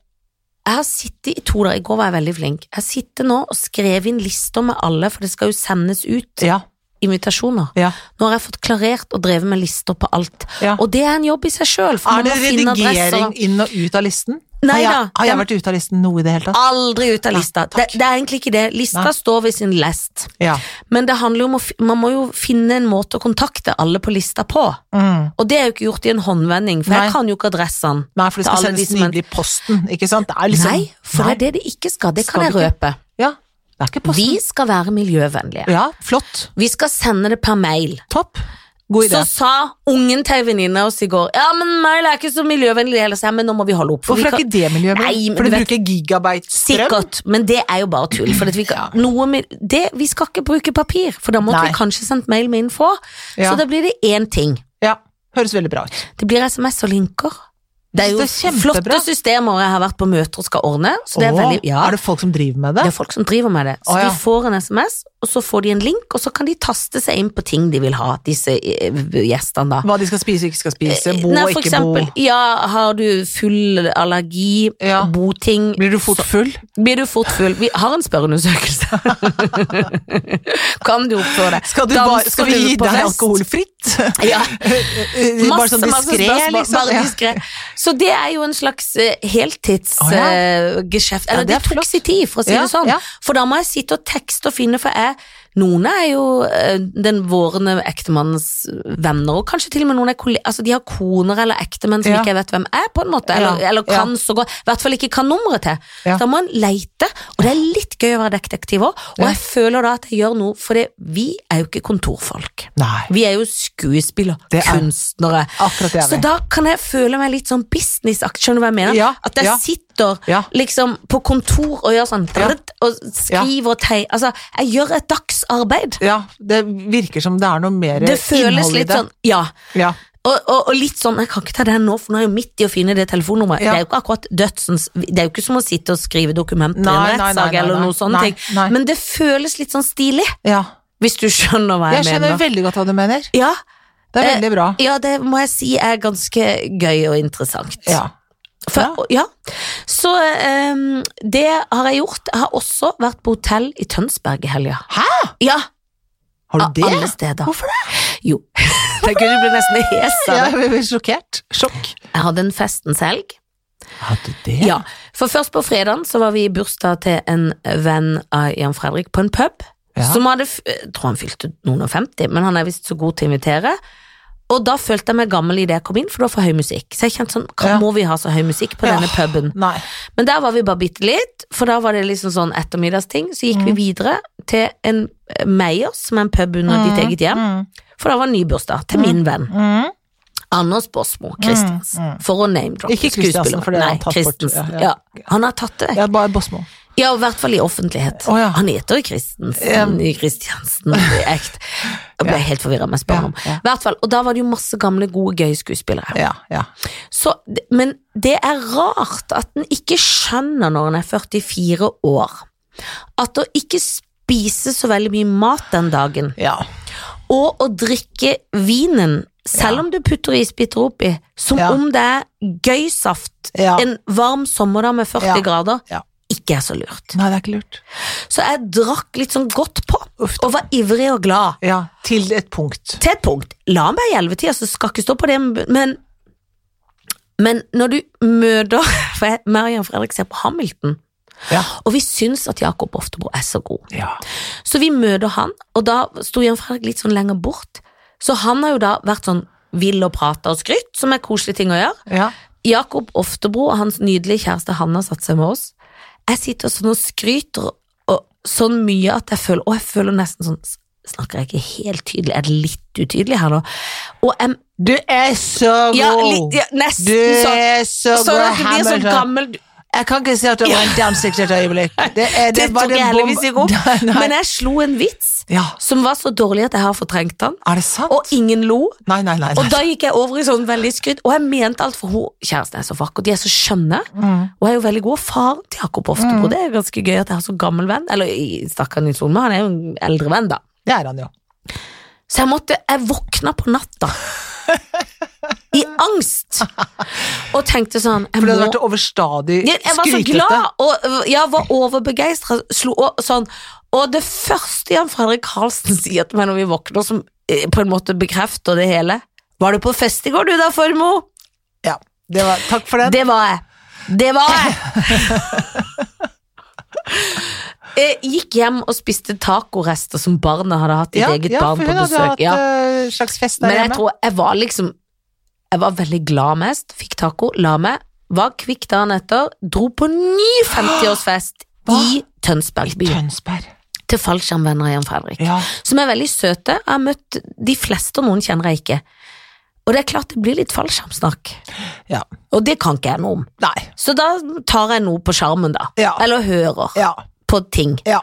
S2: jeg har sittet i to dager, i går var jeg veldig flink. Jeg sitter nå og skrev inn lister med alle, for det skal jo sendes ut
S1: Ja.
S2: invitasjoner.
S1: ja.
S2: Nå har jeg fått klarert og drevet med lister på alt.
S1: ja.
S2: Og det er en jobb i seg sjøl, for
S1: Er
S2: man
S1: det
S2: må finne adresser.
S1: redigering inn og ut av listen?
S2: Nei
S1: har jeg,
S2: da,
S1: Har jeg
S2: den-
S1: vært ute av listen noe i det hele tatt?
S2: Aldri ut av
S1: Nei,
S2: lista. det,
S1: takk.
S2: det er egentlig ikke det. Lista
S1: Nei.
S2: står ved sin lest.
S1: Ja.
S2: Men det handler jo om å, fi- man må jo finne en måte å kontakte alle på lista på.
S1: Mm.
S2: Og det er jo ikke gjort i en håndvending, for
S1: Nei.
S2: jeg kan jo ikke adressen.
S1: Nei, for det
S2: Til
S1: skal
S2: alle de
S1: sendes
S2: som er-
S1: nydelig i posten, ikke sant? Det er liksom
S2: Nei, for
S1: Nei,
S2: det er det det ikke skal. Det kan
S1: Skal
S2: jeg
S1: det
S2: røpe.
S1: Ja, det er ikke
S2: Vi
S1: posten.
S2: skal være miljøvennlige.
S1: Ja, flott.
S2: Vi skal sende det per mail.
S1: Topp. God idé.
S2: Så sa ungen til ei venninne av oss i går Ja, men mail er ikke så miljøvennlig heller, sa jeg, men nå må vi holde opp. for vi
S1: Hvorfor er
S2: kan-
S1: ikke det
S2: Nei,
S1: miljøvennlig?
S2: men
S1: For
S2: du
S1: du
S2: vet-
S1: bruker gigabyte strøm?
S2: Sikkert, men det er jo bare tull. For at vi, kan, noe med, det, vi skal ikke bruke papir, for da måtte
S1: Nei.
S2: vi kanskje sendt mail med info.
S1: Ja.
S2: Så da blir det én ting.
S1: Ja. Høres veldig bra ut.
S2: Det blir SMS og linker. Det er jo
S1: Det er kjempebra.
S2: flotte systemer jeg har vært på møter og skal ordne. Så det er,
S1: Åh,
S2: veldig, ja,
S1: er det folk som driver med det?
S2: det er folk som driver med det. Så
S1: Å, ja.
S2: de får en SMS, og så får de en link, og så kan de taste seg inn på ting de vil ha, disse eh, gjestene da.
S1: Hva de skal spise, ikke skal spise, bo,
S2: Eh, Nei, for
S1: ikke
S2: eksempel,
S1: bo.
S2: ja, har du full allergi,
S1: Ja.
S2: boting
S1: Blir du fort full?
S2: Blir du fort full? Vi har en spørreundersøkelse. kan du oppføre deg?
S1: Skal, du
S2: Danser
S1: bare, skal vi
S2: du
S1: gi
S2: på
S1: deg
S2: fest?
S1: alkoholfritt?
S2: Ja.
S1: bare
S2: Masse,
S1: sånn
S2: masse
S1: diskré,
S2: spørsmål.
S1: liksom?
S2: Bare
S1: Ja.
S2: diskret. Så det er jo en slags eh,
S1: Å, ja.
S2: heltidsgeskjeft.
S1: Ja,
S2: Eller
S1: det
S2: det,
S1: er flott.
S2: tok sin tid, for å si
S1: Ja,
S2: det sånn.
S1: ja.
S2: For da må jeg sitte og tekste og finne, for jeg noen er jo eh, den vårende ektemannens venner, og kanskje til og med noen er kolle- altså de har koner eller ektemenn som
S1: Ja.
S2: ikke jeg vet hvem er, på en måte, eller,
S1: Ja,
S2: eller kan så godt, i hvert fall ikke kan nummeret til.
S1: Ja.
S2: Da må en leite, og det er litt gøy å være detektiv òg, og
S1: Ja.
S2: jeg føler da at jeg gjør noe, for det, vi er jo ikke kontorfolk.
S1: Nei.
S2: Vi er jo skuespillere,
S1: Det er-
S2: kunstnere.
S1: Akkurat det er
S2: Så
S1: vi.
S2: da kan jeg føle meg litt sånn businessaktig, skjønner du hva jeg mener?
S1: Ja,
S2: At jeg
S1: ja.
S2: sitter
S1: Ja.
S2: liksom på kontor og gjør sånn
S1: Ja.
S2: drrt, og skriver og tegner. Altså, jeg gjør et dagsarbeid.
S1: Ja, det virker som det er noe mer
S2: Det føles
S1: innhold i
S2: litt
S1: det.
S2: sånn, ja.
S1: Ja.
S2: Og, og, og litt sånn, jeg kan ikke ta den nå, for nå er jeg jo midt i å finne det telefonnummeret.
S1: Ja.
S2: Det er jo ikke akkurat dødsens Det er jo ikke som å sitte og skrive dokumenter i
S1: Nei, nei,
S2: en
S1: nei,
S2: rettssak
S1: nei,
S2: eller
S1: nei.
S2: noe sånne
S1: Nei,
S2: ting.
S1: nei.
S2: Men det føles litt sånn stilig,
S1: ja.
S2: hvis du skjønner hva jeg,
S1: Jeg skjønner
S2: mener.
S1: veldig godt hva du mener.
S2: Ja,
S1: Det er
S2: Eh,
S1: veldig bra.
S2: Ja, det må jeg si er ganske gøy og interessant.
S1: Ja.
S2: For, ja. Så ehm, det har jeg gjort. Jeg har også vært på hotell i Tønsberg i helga.
S1: Hæ?
S2: Ja,
S1: Har
S2: av
S1: du det?
S2: alle steder.
S1: Hvorfor det?
S2: Jo. Det kunne bli nesten hes av
S1: Ja,
S2: det.
S1: jeg blir sjokkert. Sjokk.
S2: Jeg hadde en festens helg.
S1: Hadde du det?
S2: Ja. For først på fredagen så var vi i bursdag til en venn av Jan Fredrik på en pub.
S1: Ja.
S2: Som hadde, f- jeg tror han fylte noen og femti, men han er visst så god til å invitere. Og da følte jeg meg gammel idet jeg kom inn, for det var for høy musikk. Så jeg kjente sånn, hva
S1: Ja.
S2: må vi ha så høy musikk på
S1: Ja.
S2: denne puben?
S1: Nei.
S2: Men der var vi bare bitte litt, for da var det liksom sånn ettermiddagsting. Så
S1: Mm.
S2: gikk vi videre til en eh, Meyers, som er en pub under ditt
S1: Mm,
S2: eget hjem.
S1: mm,
S2: For da var det ny bursdag til min venn.
S1: mm.
S2: Anders Båsmo Christiansen.
S1: Mm, mm.
S2: For å name-droppe
S1: Ikke Christiansen, for det har
S2: Nei,
S1: han tatt bort.
S2: Christensen.
S1: Ja,
S2: Ja,
S1: ja.
S2: Han har tatt det vekk.
S1: Ja, bare Bosmo.
S2: Ja, i hvert fall i offentlighet.
S1: Å, ja.
S2: Han heter jo Christensen. i Christiansen, ekte. Jeg ble helt forvirra med
S1: Ja,
S2: spørsmål om.
S1: ja.
S2: I hvert fall, Og da var det jo masse gamle, gode, gøye skuespillere.
S1: ja, ja.
S2: Så, men det er rart at en ikke skjønner når en er 44 år, at å ikke spise så veldig mye mat den dagen,
S1: ja.
S2: og å drikke vinen Selv
S1: Ja.
S2: om du putter isbiter oppi, som
S1: Ja.
S2: om det er gøysaft
S1: Ja.
S2: en varm sommerdag med 40
S1: Ja.
S2: grader,
S1: Ja.
S2: ikke er så lurt.
S1: Nei, det er ikke lurt.
S2: Så jeg drakk litt sånn godt på, og var ivrig og glad.
S1: Ja, til et punkt.
S2: Til et punkt. La meg i ellevetida, så skal ikke stå på det, men men når du møter For jeg, meg og Jan Fredrik ser på Hamilton,
S1: Ja.
S2: og vi syns at Jakob Oftebro er så god.
S1: Ja.
S2: Så vi møter han, og da sto Jan Fredrik litt sånn lenger bort. Så han har jo da vært sånn vill og prata og skrytt, som er koselige ting å gjøre.
S1: ja.
S2: Jakob Oftebro og hans nydelige kjæreste Hanna satte seg med oss. Jeg sitter sånn og skryter og, sånn mye at jeg føler Og jeg føler nesten sånn s- Snakker jeg ikke helt tydelig? Er det litt utydelig her nå? Og jeg,
S1: Du er så god!
S2: ja, litt, ja, nesten
S1: Du
S2: sånn.
S1: er så god,
S2: Sånn at du blir sånn
S1: Hamilton.
S2: gammel
S1: Jeg kan ikke si at det var en downstick et øyeblikk. Det, er,
S2: Det
S1: var
S2: tok
S1: en
S2: jeg
S1: bom-
S2: heldigvis ikke opp.
S1: Nei.
S2: Men jeg slo en vits
S1: Ja,
S2: som var så dårlig at jeg har fortrengt den.
S1: er det sant?
S2: Og ingen lo.
S1: nei, nei, nei. nei.
S2: Og da gikk jeg over i sånn veldig skryt, og jeg mente alt, for hun, kjæresten er så vakker, de er så skjønne,
S1: Mm.
S2: og er jo veldig god. Faren til Jakob Oftebro,
S1: Mm.
S2: det er ganske gøy at jeg har så gammel venn, eller i- stakkar Nils Olme, han er jo en eldre venn, da.
S1: Det er han jo.
S2: Så jeg måtte, jeg våkna på natta. I angst! Og tenkte sånn jeg
S1: For det hadde
S2: må-
S1: vært overstadig
S2: jeg, jeg var så
S1: skrytete.
S2: glad, og øh, jeg var overbegeistra. Slo og sånn. Og det første Jan Fredrik Karlsen sier til meg når vi våkner, som eh, på en måte bekrefter det hele Var du på fest i går, du da, Formoe?
S1: Ja, det var, takk for den.
S2: Det var jeg. Det var jeg. Jeg Eh, gikk hjem og spiste tacorester som barna hadde hatt i
S1: ja,
S2: eget
S1: ja,
S2: barn
S1: for
S2: på
S1: hun hadde
S2: besøk.
S1: hatt
S2: ja.
S1: eh, slags fest der
S2: Men jeg
S1: hjemme.
S2: tror jeg var liksom Jeg var veldig glad mest, fikk taco, la meg, var kvikk dagen etter, dro på ny 50-årsfest i Tønsberg by.
S1: Tønsberg.
S2: Til fallskjermvenner av Jan Fredrik.
S1: Ja.
S2: Som er veldig søte. Jeg har møtt de fleste, og noen kjenner jeg ikke. Og det er klart det blir litt fallskjermsnakk.
S1: Ja.
S2: Og det kan ikke jeg noe om.
S1: Nei.
S2: Så da tar jeg noe på skjermen, da.
S1: Ja.
S2: Eller hører
S1: Ja.
S2: på ting.
S1: Ja.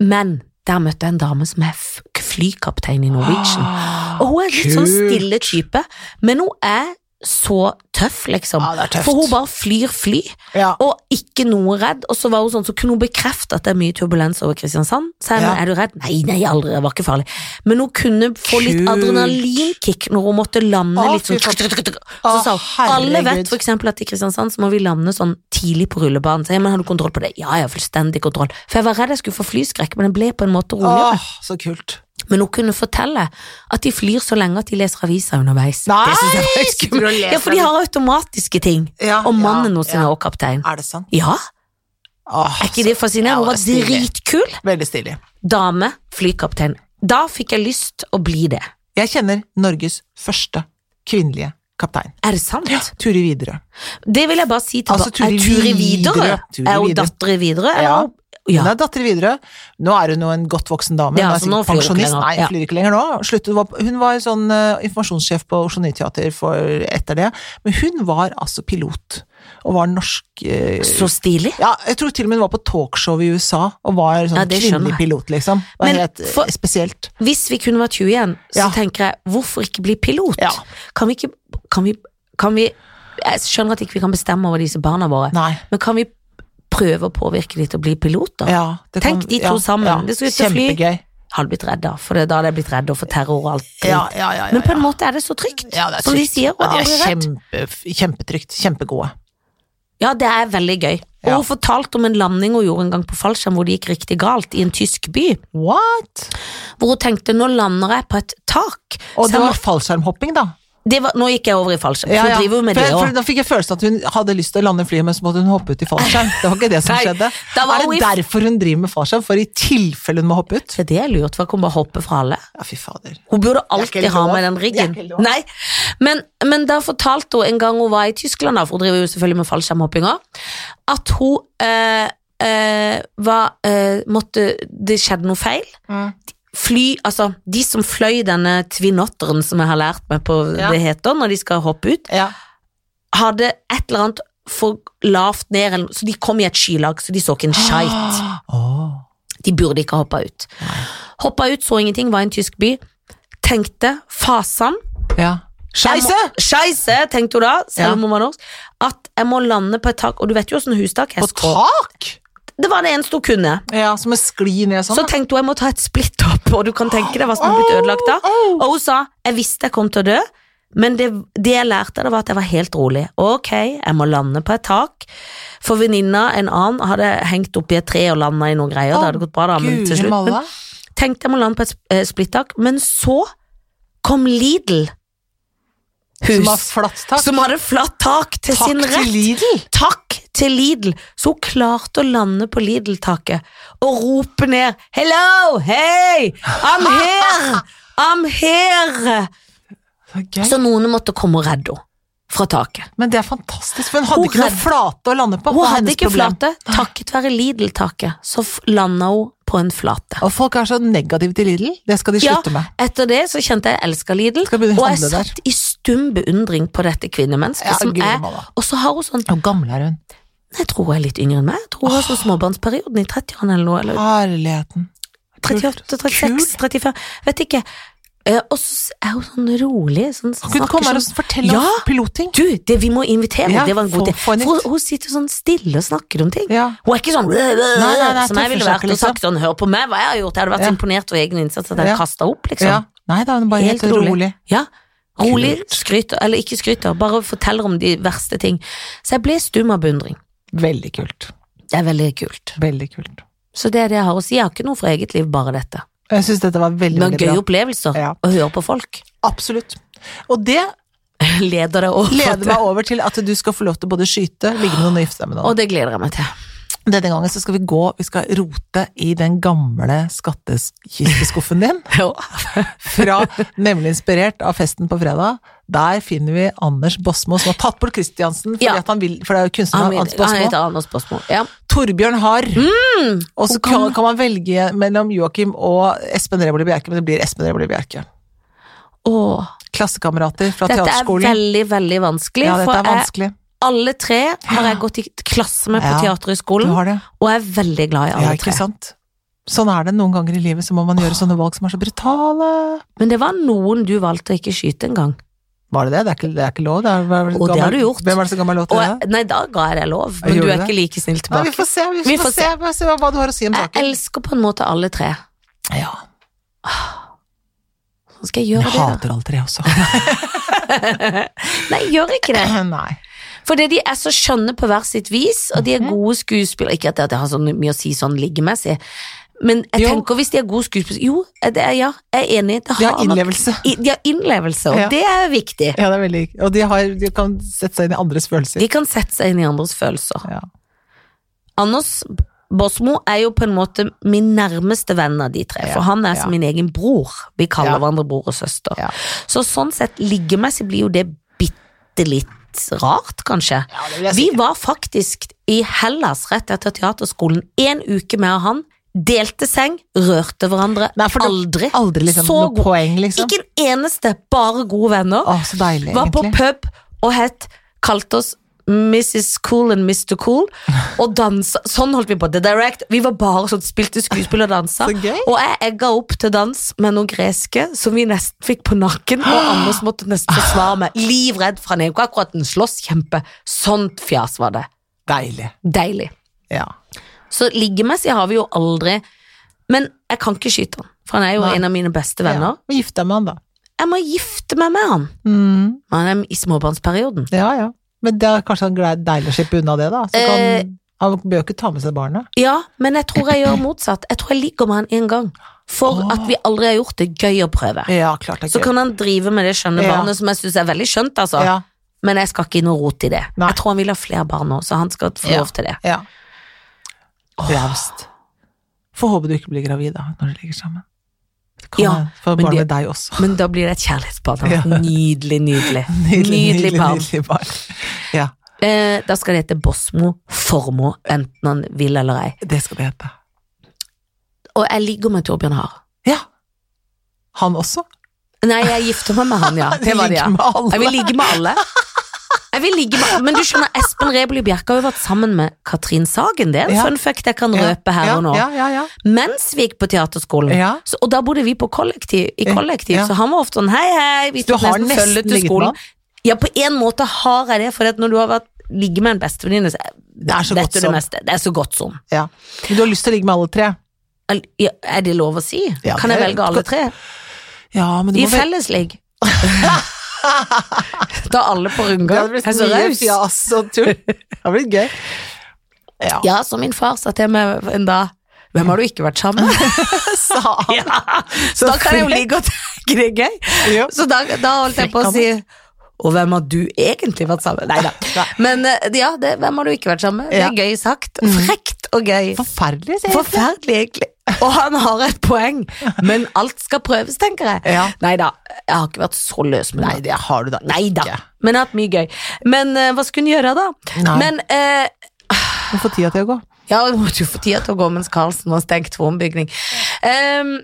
S2: Men der møtte jeg en dame som er f- flykaptein i Norwegian.
S1: Ah,
S2: Og hun er litt sånn
S1: kult.
S2: stille type, men hun er så tøff, liksom.
S1: Ja, det er tøft.
S2: For hun bare flyr fly,
S1: Ja.
S2: og ikke noe redd. Og så var hun sånn, så kunne hun bekrefte at det er mye turbulens over Kristiansand. Så jeg,
S1: Ja.
S2: men er du redd? Nei, nei, aldri, det var ikke farlig. Men hun kunne få litt
S1: Kult.
S2: adrenalinkick når hun måtte lande
S1: Å,
S2: litt sånn.
S1: fy
S2: Så sa
S1: Å,
S2: hun, alle
S1: herregud.
S2: vet for eksempel at i Kristiansand så må vi lande sånn tidlig på rullebanen. Så jeg, men har du kontroll på det? Ja, jeg har fullstendig kontroll. For jeg var redd jeg skulle få flyskrekk, men jeg ble på en måte roligere.
S1: Åh, så kult.
S2: Men hun kunne fortelle at de flyr så lenge at de leser aviser underveis.
S1: Nei!
S2: Det synes jeg var helt
S1: Sitter du og
S2: skummelt.
S1: leser
S2: Ja, for de har automatiske ting.
S1: Ja,
S2: Og mannen
S1: ja,
S2: hennes
S1: ja.
S2: er også kaptein.
S1: Er det sant?
S2: Ja,
S1: Åh,
S2: er ikke det fascinerende?
S1: Altså, Ja,
S2: Hun var
S1: det er stilig.
S2: dritkul.
S1: så- Veldig stilig.
S2: Dame, flykaptein. Da fikk jeg lyst å bli det.
S1: Jeg kjenner Norges første kvinnelige kaptein.
S2: Er det sant?
S1: Turi Widerøe.
S2: Det vil jeg bare si til
S1: Altså,
S2: ba-
S1: Turi
S2: Er Turi Widerøe.
S1: Widerøe. Turi
S2: Er hun
S1: Widerøe.
S2: datter i Widerøe? eller?
S1: Ja.
S2: Ja.
S1: Hun er datter i Widerøe. Nå er hun jo en godt voksen dame.
S2: Ja,
S1: hun er
S2: så nå
S1: sikkert
S2: flyr hun ikke
S1: pensjonist.
S2: lenger.
S1: Nei,
S2: Ja.
S1: hun flyr ikke lenger nå. Sluttet, hun var- hun var sånn eh, informasjonssjef på Oslo Nyteater for etter det. Men hun var altså pilot, og var norsk eh,
S2: Så stilig.
S1: ja, jeg tror til og med hun var på talkshow i USA, og var sånn
S2: Ja, det skjønner
S1: kvinnelig
S2: jeg.
S1: pilot, liksom. Det var
S2: Men
S1: helt eh,
S2: for-
S1: spesielt.
S2: Hvis vi kunne vært 20 igjen, så
S1: Ja.
S2: tenker jeg, hvorfor ikke bli pilot?
S1: Ja.
S2: Kan vi ikke kan vi, kan vi, Jeg skjønner at ikke vi kan bestemme over disse barna våre,
S1: Nei.
S2: men kan vi prøve å påvirke de til å bli piloter?
S1: Ja, det
S2: Tenk de to sammen. Hvis du skal fly-
S1: Kjempegøy.
S2: Hadde blitt redd da, for det, da hadde jeg blitt redd og for terror og alt. dritt.
S1: Ja, ja, ja, ja,
S2: Men på en
S1: ja.
S2: måte er det så trygt,
S1: Ja, det er
S2: som de
S1: trygt.
S2: sier, og
S1: Ja, det
S2: aldri
S1: er
S2: redd.
S1: kjempe, kjempetrygt. Kjempegode.
S2: Ja, det er veldig gøy. Og
S1: Ja.
S2: hun fortalte om en landing hun gjorde en gang på fallskjerm hvor det gikk riktig galt, i en tysk by.
S1: What?
S2: Hvor hun tenkte, nå lander jeg på et tak.
S1: Og
S2: Så
S1: det
S2: jeg
S1: var fallskjermhopping, da.
S2: må- det var, nå gikk jeg over i fallskjerm, for hun driver jo med
S1: for,
S2: det
S1: for
S2: òg.
S1: Da fikk jeg følelsen at hun hadde lyst til å lande flyet, men så måtte hun hoppe ut i fallskjerm. Det var ikke det som
S2: Nei,
S1: skjedde.
S2: da var
S1: Er
S2: hun
S1: det
S2: i-
S1: derfor hun driver med fallskjerm? For i tilfelle hun må hoppe ut?
S2: Det er det jeg lurte på, kan hun bare hoppe fra alle?
S1: Ja, fy fader.
S2: Hun burde
S1: Det er
S2: alltid
S1: ikke
S2: ha
S1: lov.
S2: med den riggen.
S1: Det er ikke lov.
S2: Nei, men, men da fortalte hun en gang hun var i Tyskland, da, for hun driver jo selvfølgelig med fallskjermhopping òg, at hun eh, eh, var eh, måtte, Det skjedde noe feil.
S1: Mm.
S2: Fly, altså De som fløy denne tvinotteren som jeg har lært meg på
S1: Ja.
S2: det heter, når de skal hoppe ut,
S1: Ja.
S2: hadde et eller annet for lavt ned, eller- så de kom i et skylag, så de så ikke en skeit.
S1: Ah. Åh.
S2: De burde ikke ha hoppa ut. Hoppa ut, så ingenting, var i en tysk by. Tenkte fasan
S1: Ja. Scheisse!
S2: Jeg må- Scheisse, tenkte hun da, selv om hun var norsk. At jeg må lande på et tak, og du vet jo åssen hustak jeg
S1: På
S2: skal
S1: tak!
S2: Det var det eneste hun kunne.
S1: Ja, som en skli ned sånn.
S2: Så tenkte hun jeg må ta et splitt opp, og du kan tenke deg hva som hadde blitt ødelagt da.
S1: Åh, åh.
S2: Og hun sa jeg visste jeg kom til å dø, Men det, det jeg lærte, det var at jeg var helt rolig. Ok, jeg må lande på et tak. For venninna, en annen, hadde hengt opp i et tre og landa i noen greier.
S1: Å,
S2: det hadde gått bra, da, men
S1: Guri
S2: til slutt men
S1: malla.
S2: Tenkte jeg må lande på et sp- eh, splittak, men så kom Lidl. Hus.
S1: Som har flatt tak.
S2: Som hadde flatt tak til
S1: Takk
S2: sin rett.
S1: til Lidl!
S2: Takk til Lidl! Så hun klarte å lande på Lidl-taket og rope ned Hello! Hey! I'm here! I'm here!
S1: Så gøy.
S2: Så noen måtte komme og redde henne fra taket.
S1: Men det er fantastisk, for hun
S2: Hun
S1: hadde ikke noe
S2: hadde-
S1: flate å lande på.
S2: Hun
S1: Det var
S2: hadde
S1: hennes
S2: ikke
S1: problem.
S2: flate. Takket være Lidl-taket så f- landa hun på en flate.
S1: Og folk er så negative til Lidl. Det skal de
S2: Ja.
S1: slutte med.
S2: Etter det så kjente jeg elsker Lidl,
S1: Skal begynne å
S2: og jeg
S1: handle der.
S2: satt i stum beundring på dette kvinnemennesket
S1: Ja,
S2: som
S1: guri
S2: er
S1: malla.
S2: Og så har hun sånn
S1: Hvor gammel er hun?
S2: Jeg tror hun er litt yngre enn meg. Jeg tror hun er sånn småbarnsperioden i 30-årene eller noe.
S1: Ah,
S2: Eller
S1: Herligheten.
S2: 38, 36, 35, vet ikke. Eh, og så er hun sånn rolig. Sånn,
S1: Kan ikke du komme her og fortelle
S2: Ja!
S1: om pilotting?
S2: Du, det vi må invitere
S1: Ja,
S2: Det var en
S1: få-
S2: god idé.
S1: få en
S2: For hun,
S1: hit.
S2: hun sitter sånn stille og snakker om ting.
S1: Ja.
S2: Hun er ikke sånn «Bleh, bleh,
S1: Nei, nei, nei,
S2: som jeg ville
S1: tøffer seg
S2: vært
S1: ikke,
S2: og sagt sånn Hør på meg, hva jeg har gjort. Jeg hadde vært
S1: Ja.
S2: imponert over egen innsats at jeg
S1: Ja.
S2: ja. kasta opp, liksom.
S1: Ja. Nei da, hun er bare helt, rolig.
S2: Ja. Rolig,
S1: Kult.
S2: skryter, eller ikke skryter, bare forteller om de verste ting. Så jeg ble stum av beundring.
S1: Veldig kult.
S2: Det er veldig kult.
S1: Veldig kult.
S2: Så det er det jeg har å si. Jeg har ikke noe fra eget liv, bare dette.
S1: Jeg syns dette var veldig,
S2: Men
S1: veldig
S2: gøye
S1: bra.
S2: opplevelser,
S1: Ja.
S2: å høre på folk.
S1: Absolutt. Og det
S2: leder det over.
S1: leder meg over til at du skal få lov til å både skyte, ligge med noen og gifte deg med noen.
S2: Og det gleder jeg meg til.
S1: Denne gangen så skal vi gå, vi skal rote i den gamle skattkisteskuffen din. Fra, nemlig inspirert av festen på fredag. Der finner vi Anders Bosmo, som har tatt bort Christiansen, fordi
S2: Ja.
S1: at han vil, for det er jo
S2: Han,
S1: kunstneren Anders
S2: heter- han
S1: Bosmo.
S2: heter Anders Bosmo. Ja.
S1: Torbjørn Harr. og så
S2: hun Mm! kan-
S1: kan, kan man velge mellom Joakim og Espen Reboli Bjerke, men det blir Espen Reboli Bjerke.
S2: Åh,
S1: Klassekamerater fra
S2: dette er
S1: teaterskolen.
S2: veldig, veldig vanskelig.
S1: Ja, dette
S2: for
S1: er vanskelig.
S2: Jeg, alle tre har jeg gått i klasse med på
S1: Ja, Du
S2: Teaterhøgskolen,
S1: har det.
S2: og jeg er veldig glad i
S1: Ja,
S2: alle
S1: ikke
S2: tre.
S1: sant? Sånn er det noen ganger i livet, så må man gjøre sånne valg som er så brutale.
S2: Men det var noen du valgte å ikke skyte engang.
S1: Var det det? Det er ikke, det er ikke lov? Det er, hva er
S2: Og det har
S1: gammel-
S2: du gjort.
S1: Hvem er det som gammel låt
S2: Og
S1: til det?
S2: jeg- Nei, da ga jeg deg lov, men
S1: Gjorde
S2: du er
S1: du det?
S2: ikke like snill
S1: Nei, vi
S2: tilbake.
S1: får se, vi får,
S2: Vi får
S1: se. Vi får se hva du har å si om
S2: Jeg
S1: saken.
S2: elsker på en måte alle tre.
S1: Ja.
S2: Hvordan skal jeg
S1: Jeg
S2: gjøre det,
S1: hater alle tre også.
S2: da? Nei, jeg gjør ikke det.
S1: Nei.
S2: Fordi de er så skjønne på hver sitt vis, og de
S1: Mhm.
S2: er gode skuespillere. Ikke at det har så mye å si sånn liggemessig, men jeg
S1: Jo.
S2: tenker hvis de er gode skuespillere Jo, det er, ja, jeg er enig. Det
S1: De har
S2: nok-
S1: innlevelse.
S2: I, de har innlevelse, og
S1: Ja.
S2: det er viktig.
S1: Ja, det er veldig Og de, har, de kan sette seg inn i andres følelser.
S2: De kan sette seg inn i andres følelser.
S1: Ja.
S2: Anders Bosmo er jo på en måte min nærmeste venn av de tre, for
S1: Ja,
S2: han er
S1: ja.
S2: som min egen bror. Vi kaller
S1: Ja.
S2: hverandre bror og søster.
S1: Ja.
S2: Så sånn sett liggemessig blir jo det bitte litt rart, kanskje.
S1: Ja, det vil jeg si.
S2: Vi var faktisk i Hellas rett etter teaterskolen en uke med han. Delte seng, rørte hverandre.
S1: Nei, for det-
S2: aldri.
S1: Aldri liksom
S2: så
S1: noe
S2: god.
S1: poeng, liksom.
S2: Ikke en eneste, bare gode venner.
S1: Å, så deilig,
S2: var på
S1: egentlig.
S2: pub og het Kalte oss Mrs. Cool and Mr. Cool. Og dansa. Sånn holdt vi på. The Direct. Vi var bare sånn, spilte skuespill og dansa.
S1: Så gøy.
S2: Og jeg egga opp til dans med noen greske som vi nesten fikk på nakken. Og Anders måtte nesten forsvare meg. Livredd for han er jo ikke akkurat en slåsskjempe. Sånt fjas var det.
S1: Deilig.
S2: Deilig.
S1: Ja.
S2: Så liggemessig har vi jo aldri Men jeg kan ikke skyte han, for han er jo
S1: Nei.
S2: en av mine beste venner.
S1: Ja. Og gifte deg med han, da.
S2: Jeg må gifte meg med han.
S1: Mm.
S2: Men Han er i småbarnsperioden.
S1: Ja, ja. Men det er kanskje han gled- deilig å slippe unna det, da. Så kan,
S2: Eh.
S1: han bør jo ikke ta med seg barnet.
S2: Ja, men jeg tror jeg gjør motsatt. Jeg tror jeg ligger med han en gang. For
S1: Åh.
S2: at vi aldri har gjort det gøy å prøve.
S1: Ja, klart det
S2: Så kan han drive med det skjønne
S1: Ja.
S2: barnet, som jeg syns er veldig skjønt, altså.
S1: ja.
S2: Men jeg skal ikke inn og rote i det.
S1: Nei.
S2: Jeg tror han vil ha flere barn nå, så han skal få
S1: Ja.
S2: lov til det.
S1: ja. Raust. Får håpe du ikke blir gravid, da, når dere ligger sammen. Det kan
S2: Ja,
S1: hende. Får
S2: men
S1: barn
S2: det-
S1: med deg også.
S2: Men da blir det et kjærlighetsbarn.
S1: Ja.
S2: Nydelig, nydelig. Nydelig, barn.
S1: nydelig barn. Ja,
S2: Eh, da skal det hete Bosmo Formo, enten han vil eller ei.
S1: det skal det hete.
S2: Og jeg ligger med Torbjørn Haar.
S1: Ja. Han også?
S2: Nei, jeg gifter meg med han, ja. Det var det, ja.
S1: Ligger med alle.
S2: Jeg vil ligge med alle. Jeg vil ligge med alle. Men du skjønner, Espen Rebeli Bjerke har jo vært sammen med Katrin Sagen. Det er en
S1: Ja.
S2: fun fact jeg kan røpe her
S1: ja,
S2: og nå. Mm.
S1: Ja, ja, ja.
S2: Mens vi gikk på teaterskolen.
S1: ja.
S2: Så, og da bodde vi på kollektiv, i
S1: Ja,
S2: kollektiv,
S1: ja.
S2: så han var ofte sånn hei, hei. Vi
S1: Du
S2: tok
S1: har nesten
S2: følge til
S1: ligget med
S2: skolen.
S1: han?
S2: Ja, på en måte har jeg det, for når du har vært ligget med en bestevenninne, så
S1: Det er så
S2: vet
S1: godt
S2: du det
S1: som.
S2: meste. Det er så godt som.
S1: ja. Men du har lyst til å ligge med alle tre?
S2: Al- ja, Er det lov å si?
S1: Ja,
S2: kan jeg
S1: det-
S2: velge alle tre?
S1: Ja, men du
S2: I
S1: må vel-
S2: fellesligg. Da er alle på
S1: Det
S2: rundgang
S1: hadde blitt
S2: er så
S1: mye
S2: raus.
S1: fjas og tull. Det hadde blitt gøy. Ja,
S2: Ja, som min far sa til meg en dag Hvem har du ikke vært sammen med?
S1: sa han.
S2: ja, så
S1: Så
S2: da kan jeg jo
S1: flink.
S2: like godt tenke det er gøy.
S1: Jo.
S2: Så da, da holdt jeg på å si og hvem har du egentlig vært sammen med? Neida. Men eh, ja, det, hvem har du ikke vært sammen med? Det
S1: Ja. Mm.
S2: er gøy sagt. Frekt og gøy.
S1: Forferdelig, sier jeg.
S2: Forferdelig, egentlig. Og han har et poeng, men alt skal prøves, tenker jeg.
S1: Ja.
S2: Neida, jeg har ikke vært så løs med
S1: Nei,
S2: det.
S1: det har du da
S2: Neida,
S1: ikke.
S2: men jeg har hatt mye gøy. Men eh, hva skulle hun gjøre da?
S1: Nei.
S2: Men eh,
S1: Du får tida til å gå.
S2: ja, vi måtte jo få tida til å gå mens Karlsen var stengt for ombygning. Um,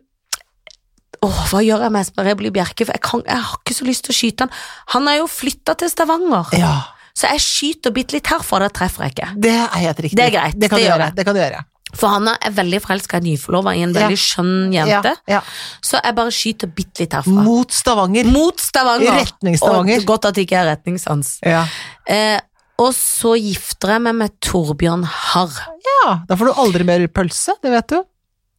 S2: åh, hva gjør jeg med Espen Rebli Bjerke? For jeg, kan, jeg har ikke så lyst til å skyte han. Han er jo flytta til Stavanger,
S1: Ja,
S2: så jeg skyter bitte litt herfra, da treffer jeg ikke.
S1: det er helt riktig.
S2: Det er greit,
S1: Det kan
S2: det
S1: du
S2: gjør
S1: gjøre.
S2: jeg.
S1: Det kan du gjøre.
S2: For han er veldig forelska i nyforlova i en
S1: Ja.
S2: veldig skjønn jente,
S1: Ja, ja.
S2: så jeg bare skyter bitte litt herfra.
S1: Mot Stavanger.
S2: Mot Stavanger.
S1: I retning Stavanger.
S2: Og godt at det ikke er retningssans.
S1: Ja.
S2: Eh, og så gifter jeg meg med Torbjørn Harr.
S1: ja, da får du aldri mer pølse, det vet du.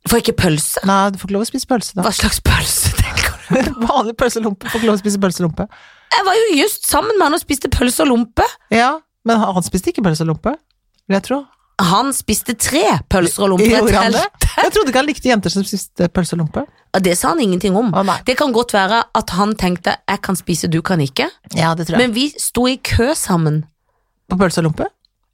S2: Får jeg ikke pølse?
S1: Nei, du får ikke lov å spise pølse da.
S2: Hva slags pølse tenker du?
S1: Vanlig pølselompe, får ikke lov å spise pølselompe.
S2: Jeg var jo just sammen med han og spiste pølse og lompe.
S1: Ja, men han han spiste ikke pølselompe, vil jeg tro.
S2: Han spiste tre pølser og lompe. i et
S1: Gjorde han det?
S2: telt.
S1: Jeg trodde ikke han likte jenter som spiste pølselompe.
S2: Ja, det sa han ingenting om.
S1: Å, nei.
S2: Det kan godt være at han tenkte 'jeg kan spise, du kan ikke',
S1: Ja, det tror
S2: men vi sto i kø sammen.
S1: På pølselompe?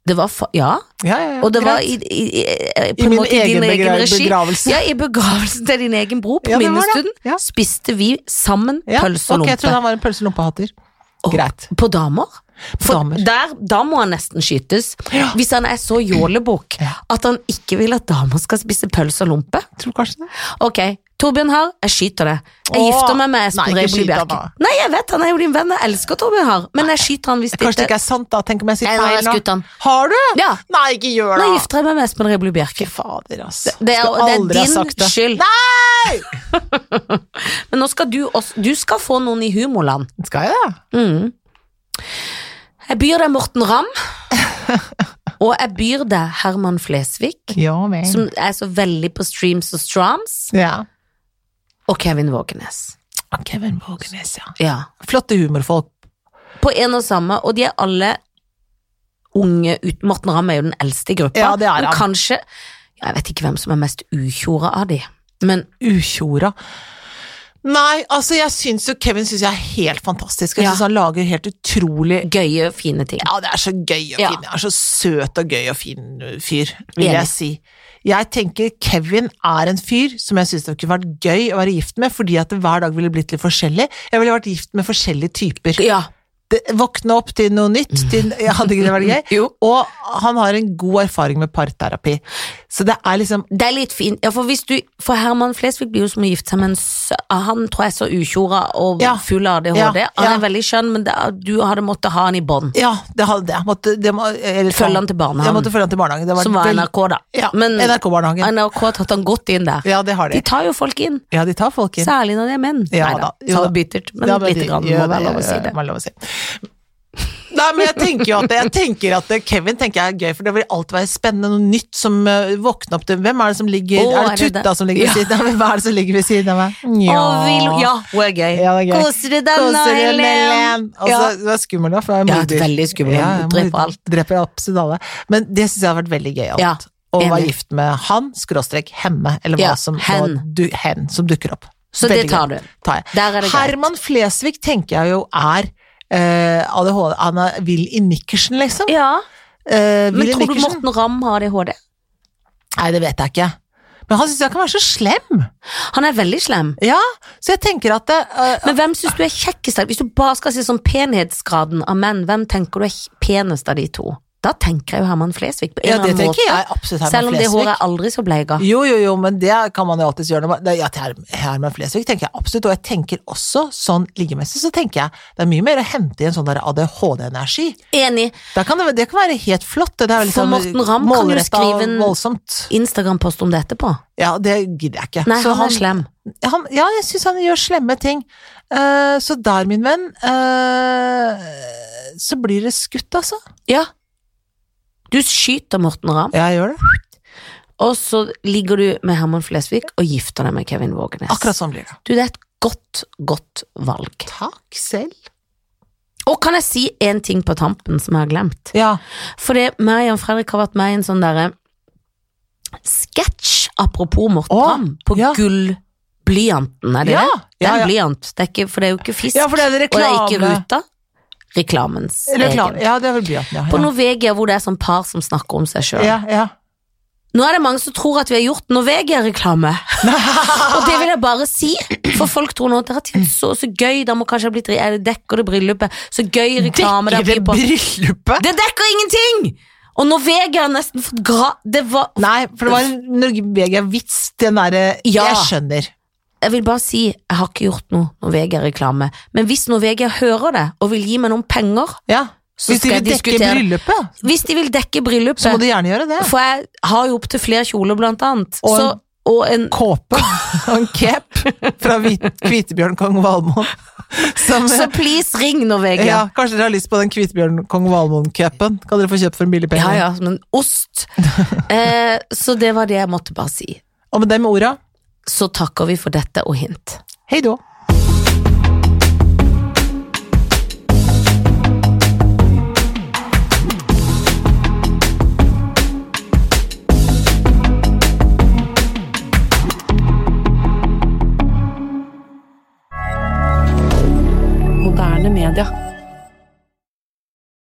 S2: Det var fa ja,
S1: Ja, ja, ja.
S2: og det var
S1: greit.
S2: i, i, i, eh, på
S1: I
S2: en
S1: min
S2: måte i
S1: egen
S2: din egen
S1: begra-
S2: regi.
S1: begravelse.
S2: Ja, I begravelsen til din egen bror på
S1: Ja, det var det.
S2: minnestunden
S1: Ja.
S2: spiste vi sammen
S1: ja.
S2: pølse og
S1: Ok,
S2: lompe.
S1: jeg trodde han var en pølselompehater.
S2: Å,
S1: Greit.
S2: På damer? For
S1: damer.
S2: Der, da må han nesten skytes.
S1: Ja.
S2: Hvis han er så jålebukk at han ikke vil at damer skal spise pølse og lompe.
S1: Jeg tror kanskje det.
S2: Ok, Torbjørn Harr, jeg skyter det. Jeg
S1: Åh,
S2: gifter meg med Espen
S1: nei, ikke
S2: Rebli
S1: skyt han
S2: Bjerke.
S1: da.
S2: Nei, jeg vet, han er jo din venn, jeg elsker Torbjørn Harr, men jeg skyter han hvis det
S1: Kanskje det ikke er sant, da. Tenk om jeg
S2: Nei,
S1: sier
S2: nå har jeg
S1: feil
S2: skutt
S1: nå.
S2: han.
S1: Har du?
S2: Ja,
S1: Nei, ikke gjør
S2: nå
S1: det. da.
S2: gifter jeg meg med Espen Rebli Bjerke.
S1: Fader, ass.
S2: Det er,
S1: Skulle
S2: det er
S1: aldri ha sagt
S2: din
S1: det.
S2: skyld. Men nå skal du også Du skal få noen i humorland.
S1: Skal jeg det?
S2: Mm. Jeg byr deg Morten Ramm, og jeg byr deg Herman Flesvig,
S1: Ja, men.
S2: som er så veldig på streams og strams,
S1: Ja.
S2: og Kevin Vågenes.
S1: Kevin Vågenes, ja.
S2: Ja.
S1: Flotte humorfolk.
S2: På en og samme, og de er alle unge ut. Morten Ramm er jo den eldste i gruppa.
S1: Ja, det er
S2: Men
S1: han.
S2: kanskje Jeg vet ikke hvem som er mest ukjora av de, men
S1: Utjorda. Nei, altså jeg syns jo Kevin synes jeg er helt fantastisk. og Jeg
S2: Ja.
S1: synes han lager helt utrolig
S2: gøye, fine ting.
S1: Ja, det er så gøy og
S2: Ja.
S1: fin. Han er så søt og gøy og fin uh, fyr, vil
S2: Enig.
S1: jeg si. Jeg tenker Kevin er en fyr som jeg syns det kunne vært gøy å være gift med, fordi at det hver dag ville blitt litt forskjellig. Jeg ville vært gift med forskjellige typer.
S2: Ja.
S1: Det, våkne opp til noe nytt, til, ja, hadde ikke det vært gøy?
S2: Jo.
S1: Og han har en god erfaring med parterapi. Så det er liksom
S2: Det er litt fint. Ja, for, hvis du, for Herman Flesvig blir jo som å gifte seg med en sø... Han tror jeg er så ukjora og
S1: Ja.
S2: full av ADHD.
S1: Ja,
S2: Han
S1: ja.
S2: er veldig skjønn, men det, er- du hadde måttet ha han i bånd.
S1: Ja, det hadde jeg. Måtte, det må, eller,
S2: Følge han til barnehagen.
S1: Jeg måtte følge han til barnehagen. Det
S2: Som var
S1: vel-
S2: NRK, da.
S1: Ja,
S2: men
S1: NRK-barnehagen.
S2: NRK har tatt han godt inn der.
S1: Ja, det har
S2: De
S1: de.
S2: tar jo folk inn.
S1: Ja, de tar folk inn.
S2: Særlig når det er menn.
S1: Ja
S2: Neida,
S1: da, jo
S2: så
S1: da.
S2: bittert, men
S1: Ja, men
S2: lite
S1: de-
S2: grann
S1: ja,
S2: må være lov å
S1: ja,
S2: si
S1: ja,
S2: det.
S1: må være lov å si. Nei, men jeg tenker jo at, jeg tenker at Kevin tenker jeg er gøy, for det vil alltid være spennende noe nytt som eh, våkner opp til Hvem er det som ligger
S2: Å,
S1: Er det
S2: er det
S1: Tutta
S2: det?
S1: som ligger ved
S2: Ja.
S1: siden av meg? Hva er det som ligger ved siden av meg?
S2: Å, vi lo- ja, hun er gøy.
S1: Ja, det er gøy.
S2: Koser du deg nå,
S1: Koser du
S2: Helen?
S1: Helen? Og så
S2: Ja.
S1: det var skummel, da, for jeg er
S2: Ja,
S1: modig.
S2: veldig skummel,
S1: Ja,
S2: hun
S1: jeg
S2: dreper
S1: må-
S2: alt.
S1: Dreper absolutt alle. Men det syns jeg har vært veldig gøy. Alt.
S2: Ja,
S1: Å være
S2: enig.
S1: gift med han, skråstrek hemme, eller hva
S2: Ja,
S1: som nå
S2: hen.
S1: du, hen som dukker opp.
S2: Så det tar
S1: gøy.
S2: du.
S1: Tar jeg.
S2: Der er det greit.
S1: Herman Flesvig tenker jeg jo er eh, ADHD Han er vill i nikkersen, liksom.
S2: Ja,
S1: Eh,
S2: men
S1: vill i
S2: tror du
S1: nikkersen?
S2: Morten Ramm har ADHD?
S1: Nei, det vet jeg ikke. Men han syns jeg kan være så slem.
S2: Han er veldig slem.
S1: Ja, så jeg tenker at det, eh,
S2: Men hvem syns du er kjekkest? av- Hvis du bare skal si sånn penhetsgraden av menn, hvem tenker du er penest av de to? Da tenker jeg jo Herman Flesvig på en
S1: Ja, det
S2: eller annen
S1: tenker
S2: måte.
S1: jeg absolutt Herman
S2: Selv om det
S1: Flesvig.
S2: håret er aldri så bleika.
S1: Jo, jo, jo, men det kan man jo alltids gjøre. når man- Det, ja, til Her- Herman Flesvig tenker jeg absolutt, og jeg tenker også sånn liggemessig, så tenker jeg det er mye mer å hente i en sånn der ADHD-energi.
S2: Enig.
S1: Da kan det, det kan være helt flott. Det er veldig
S2: For
S1: sånn
S2: Morten Ramm kan jo
S1: målrettet og
S2: skrive en-
S1: voldsomt.
S2: Instagram-post om det etterpå.
S1: Ja, det gidder jeg ikke.
S2: Nei,
S1: Så
S2: han er slem.
S1: han, ja, jeg syns han gjør slemme ting. Eh, så der, min venn, eh, så blir det skutt, altså.
S2: Ja. Du skyter Morten Ramm,
S1: Ja, jeg gjør det.
S2: og så ligger du med Herman Flesvig og gifter deg med Kevin Vågenes.
S1: Akkurat sånn blir det.
S2: Du, det er et godt, godt valg.
S1: Takk selv.
S2: Og kan jeg si én ting på tampen som jeg har glemt?
S1: Ja.
S2: Fordi meg og Fredrik har vært med i en sånn derre sketsj, apropos Morten
S1: Å,
S2: Ramm, på
S1: ja.
S2: gullblyanten, er det
S1: Ja,
S2: det? Det er
S1: ja, ja.
S2: en blyant, det er ikke, for det er jo ikke fisk.
S1: Ja, for det er det
S2: Og det er ikke
S1: reklame.
S2: ruta. Reklamens
S1: Reklam-
S2: egen.
S1: Ja, det er vel blyanten, ja.
S2: På
S1: ja.
S2: Norvegia hvor det er sånn par som snakker om seg sjøl.
S1: Ja, ja.
S2: Nå er det mange som tror at vi har gjort Norvegia-reklame. og det vil jeg bare si, for folk tror nå at det er til- så, så gøy, da må kanskje ha blitt ri- er det Dekker det bryllupet? Så gøy reklame.
S1: Dekker
S2: det
S1: det
S2: er på-
S1: bryllupet?
S2: Det dekker ingenting! Og Norvegia har nesten fått gra... Det var
S1: Nei, for det var en Norvegia-vits, den derre
S2: Ja.
S1: Jeg skjønner.
S2: Jeg vil bare si, jeg har ikke gjort noe Norvegia-reklame. Men hvis Norvegia hører det, og vil gi meg noen penger
S1: Ja.
S2: Så
S1: Hvis de
S2: skal
S1: vil
S2: jeg
S1: dekke
S2: diskutere.
S1: bryllupet,
S2: Hvis de vil dekke
S1: så må
S2: bryllupet
S1: de gjerne gjøre det.
S2: For jeg har jo opptil flere kjoler, blant annet.
S1: Og
S2: Og,
S1: en-
S2: så, og en
S1: Kåpe og en cap fra hvit, Kvitebjørn kong Valmon. Som,
S2: Så please, ring Norvegia.
S1: ja, kanskje dere har lyst på den Kvitebjørn kong Valmon-capen? Kan dere få kjøpt for en billig penge?
S2: Ja, ja, som en ost. eh, så det var det jeg måtte bare si.
S1: Og med de orda,
S2: Så takker vi for dette og hint.
S1: hei då.
S3: Moderne media.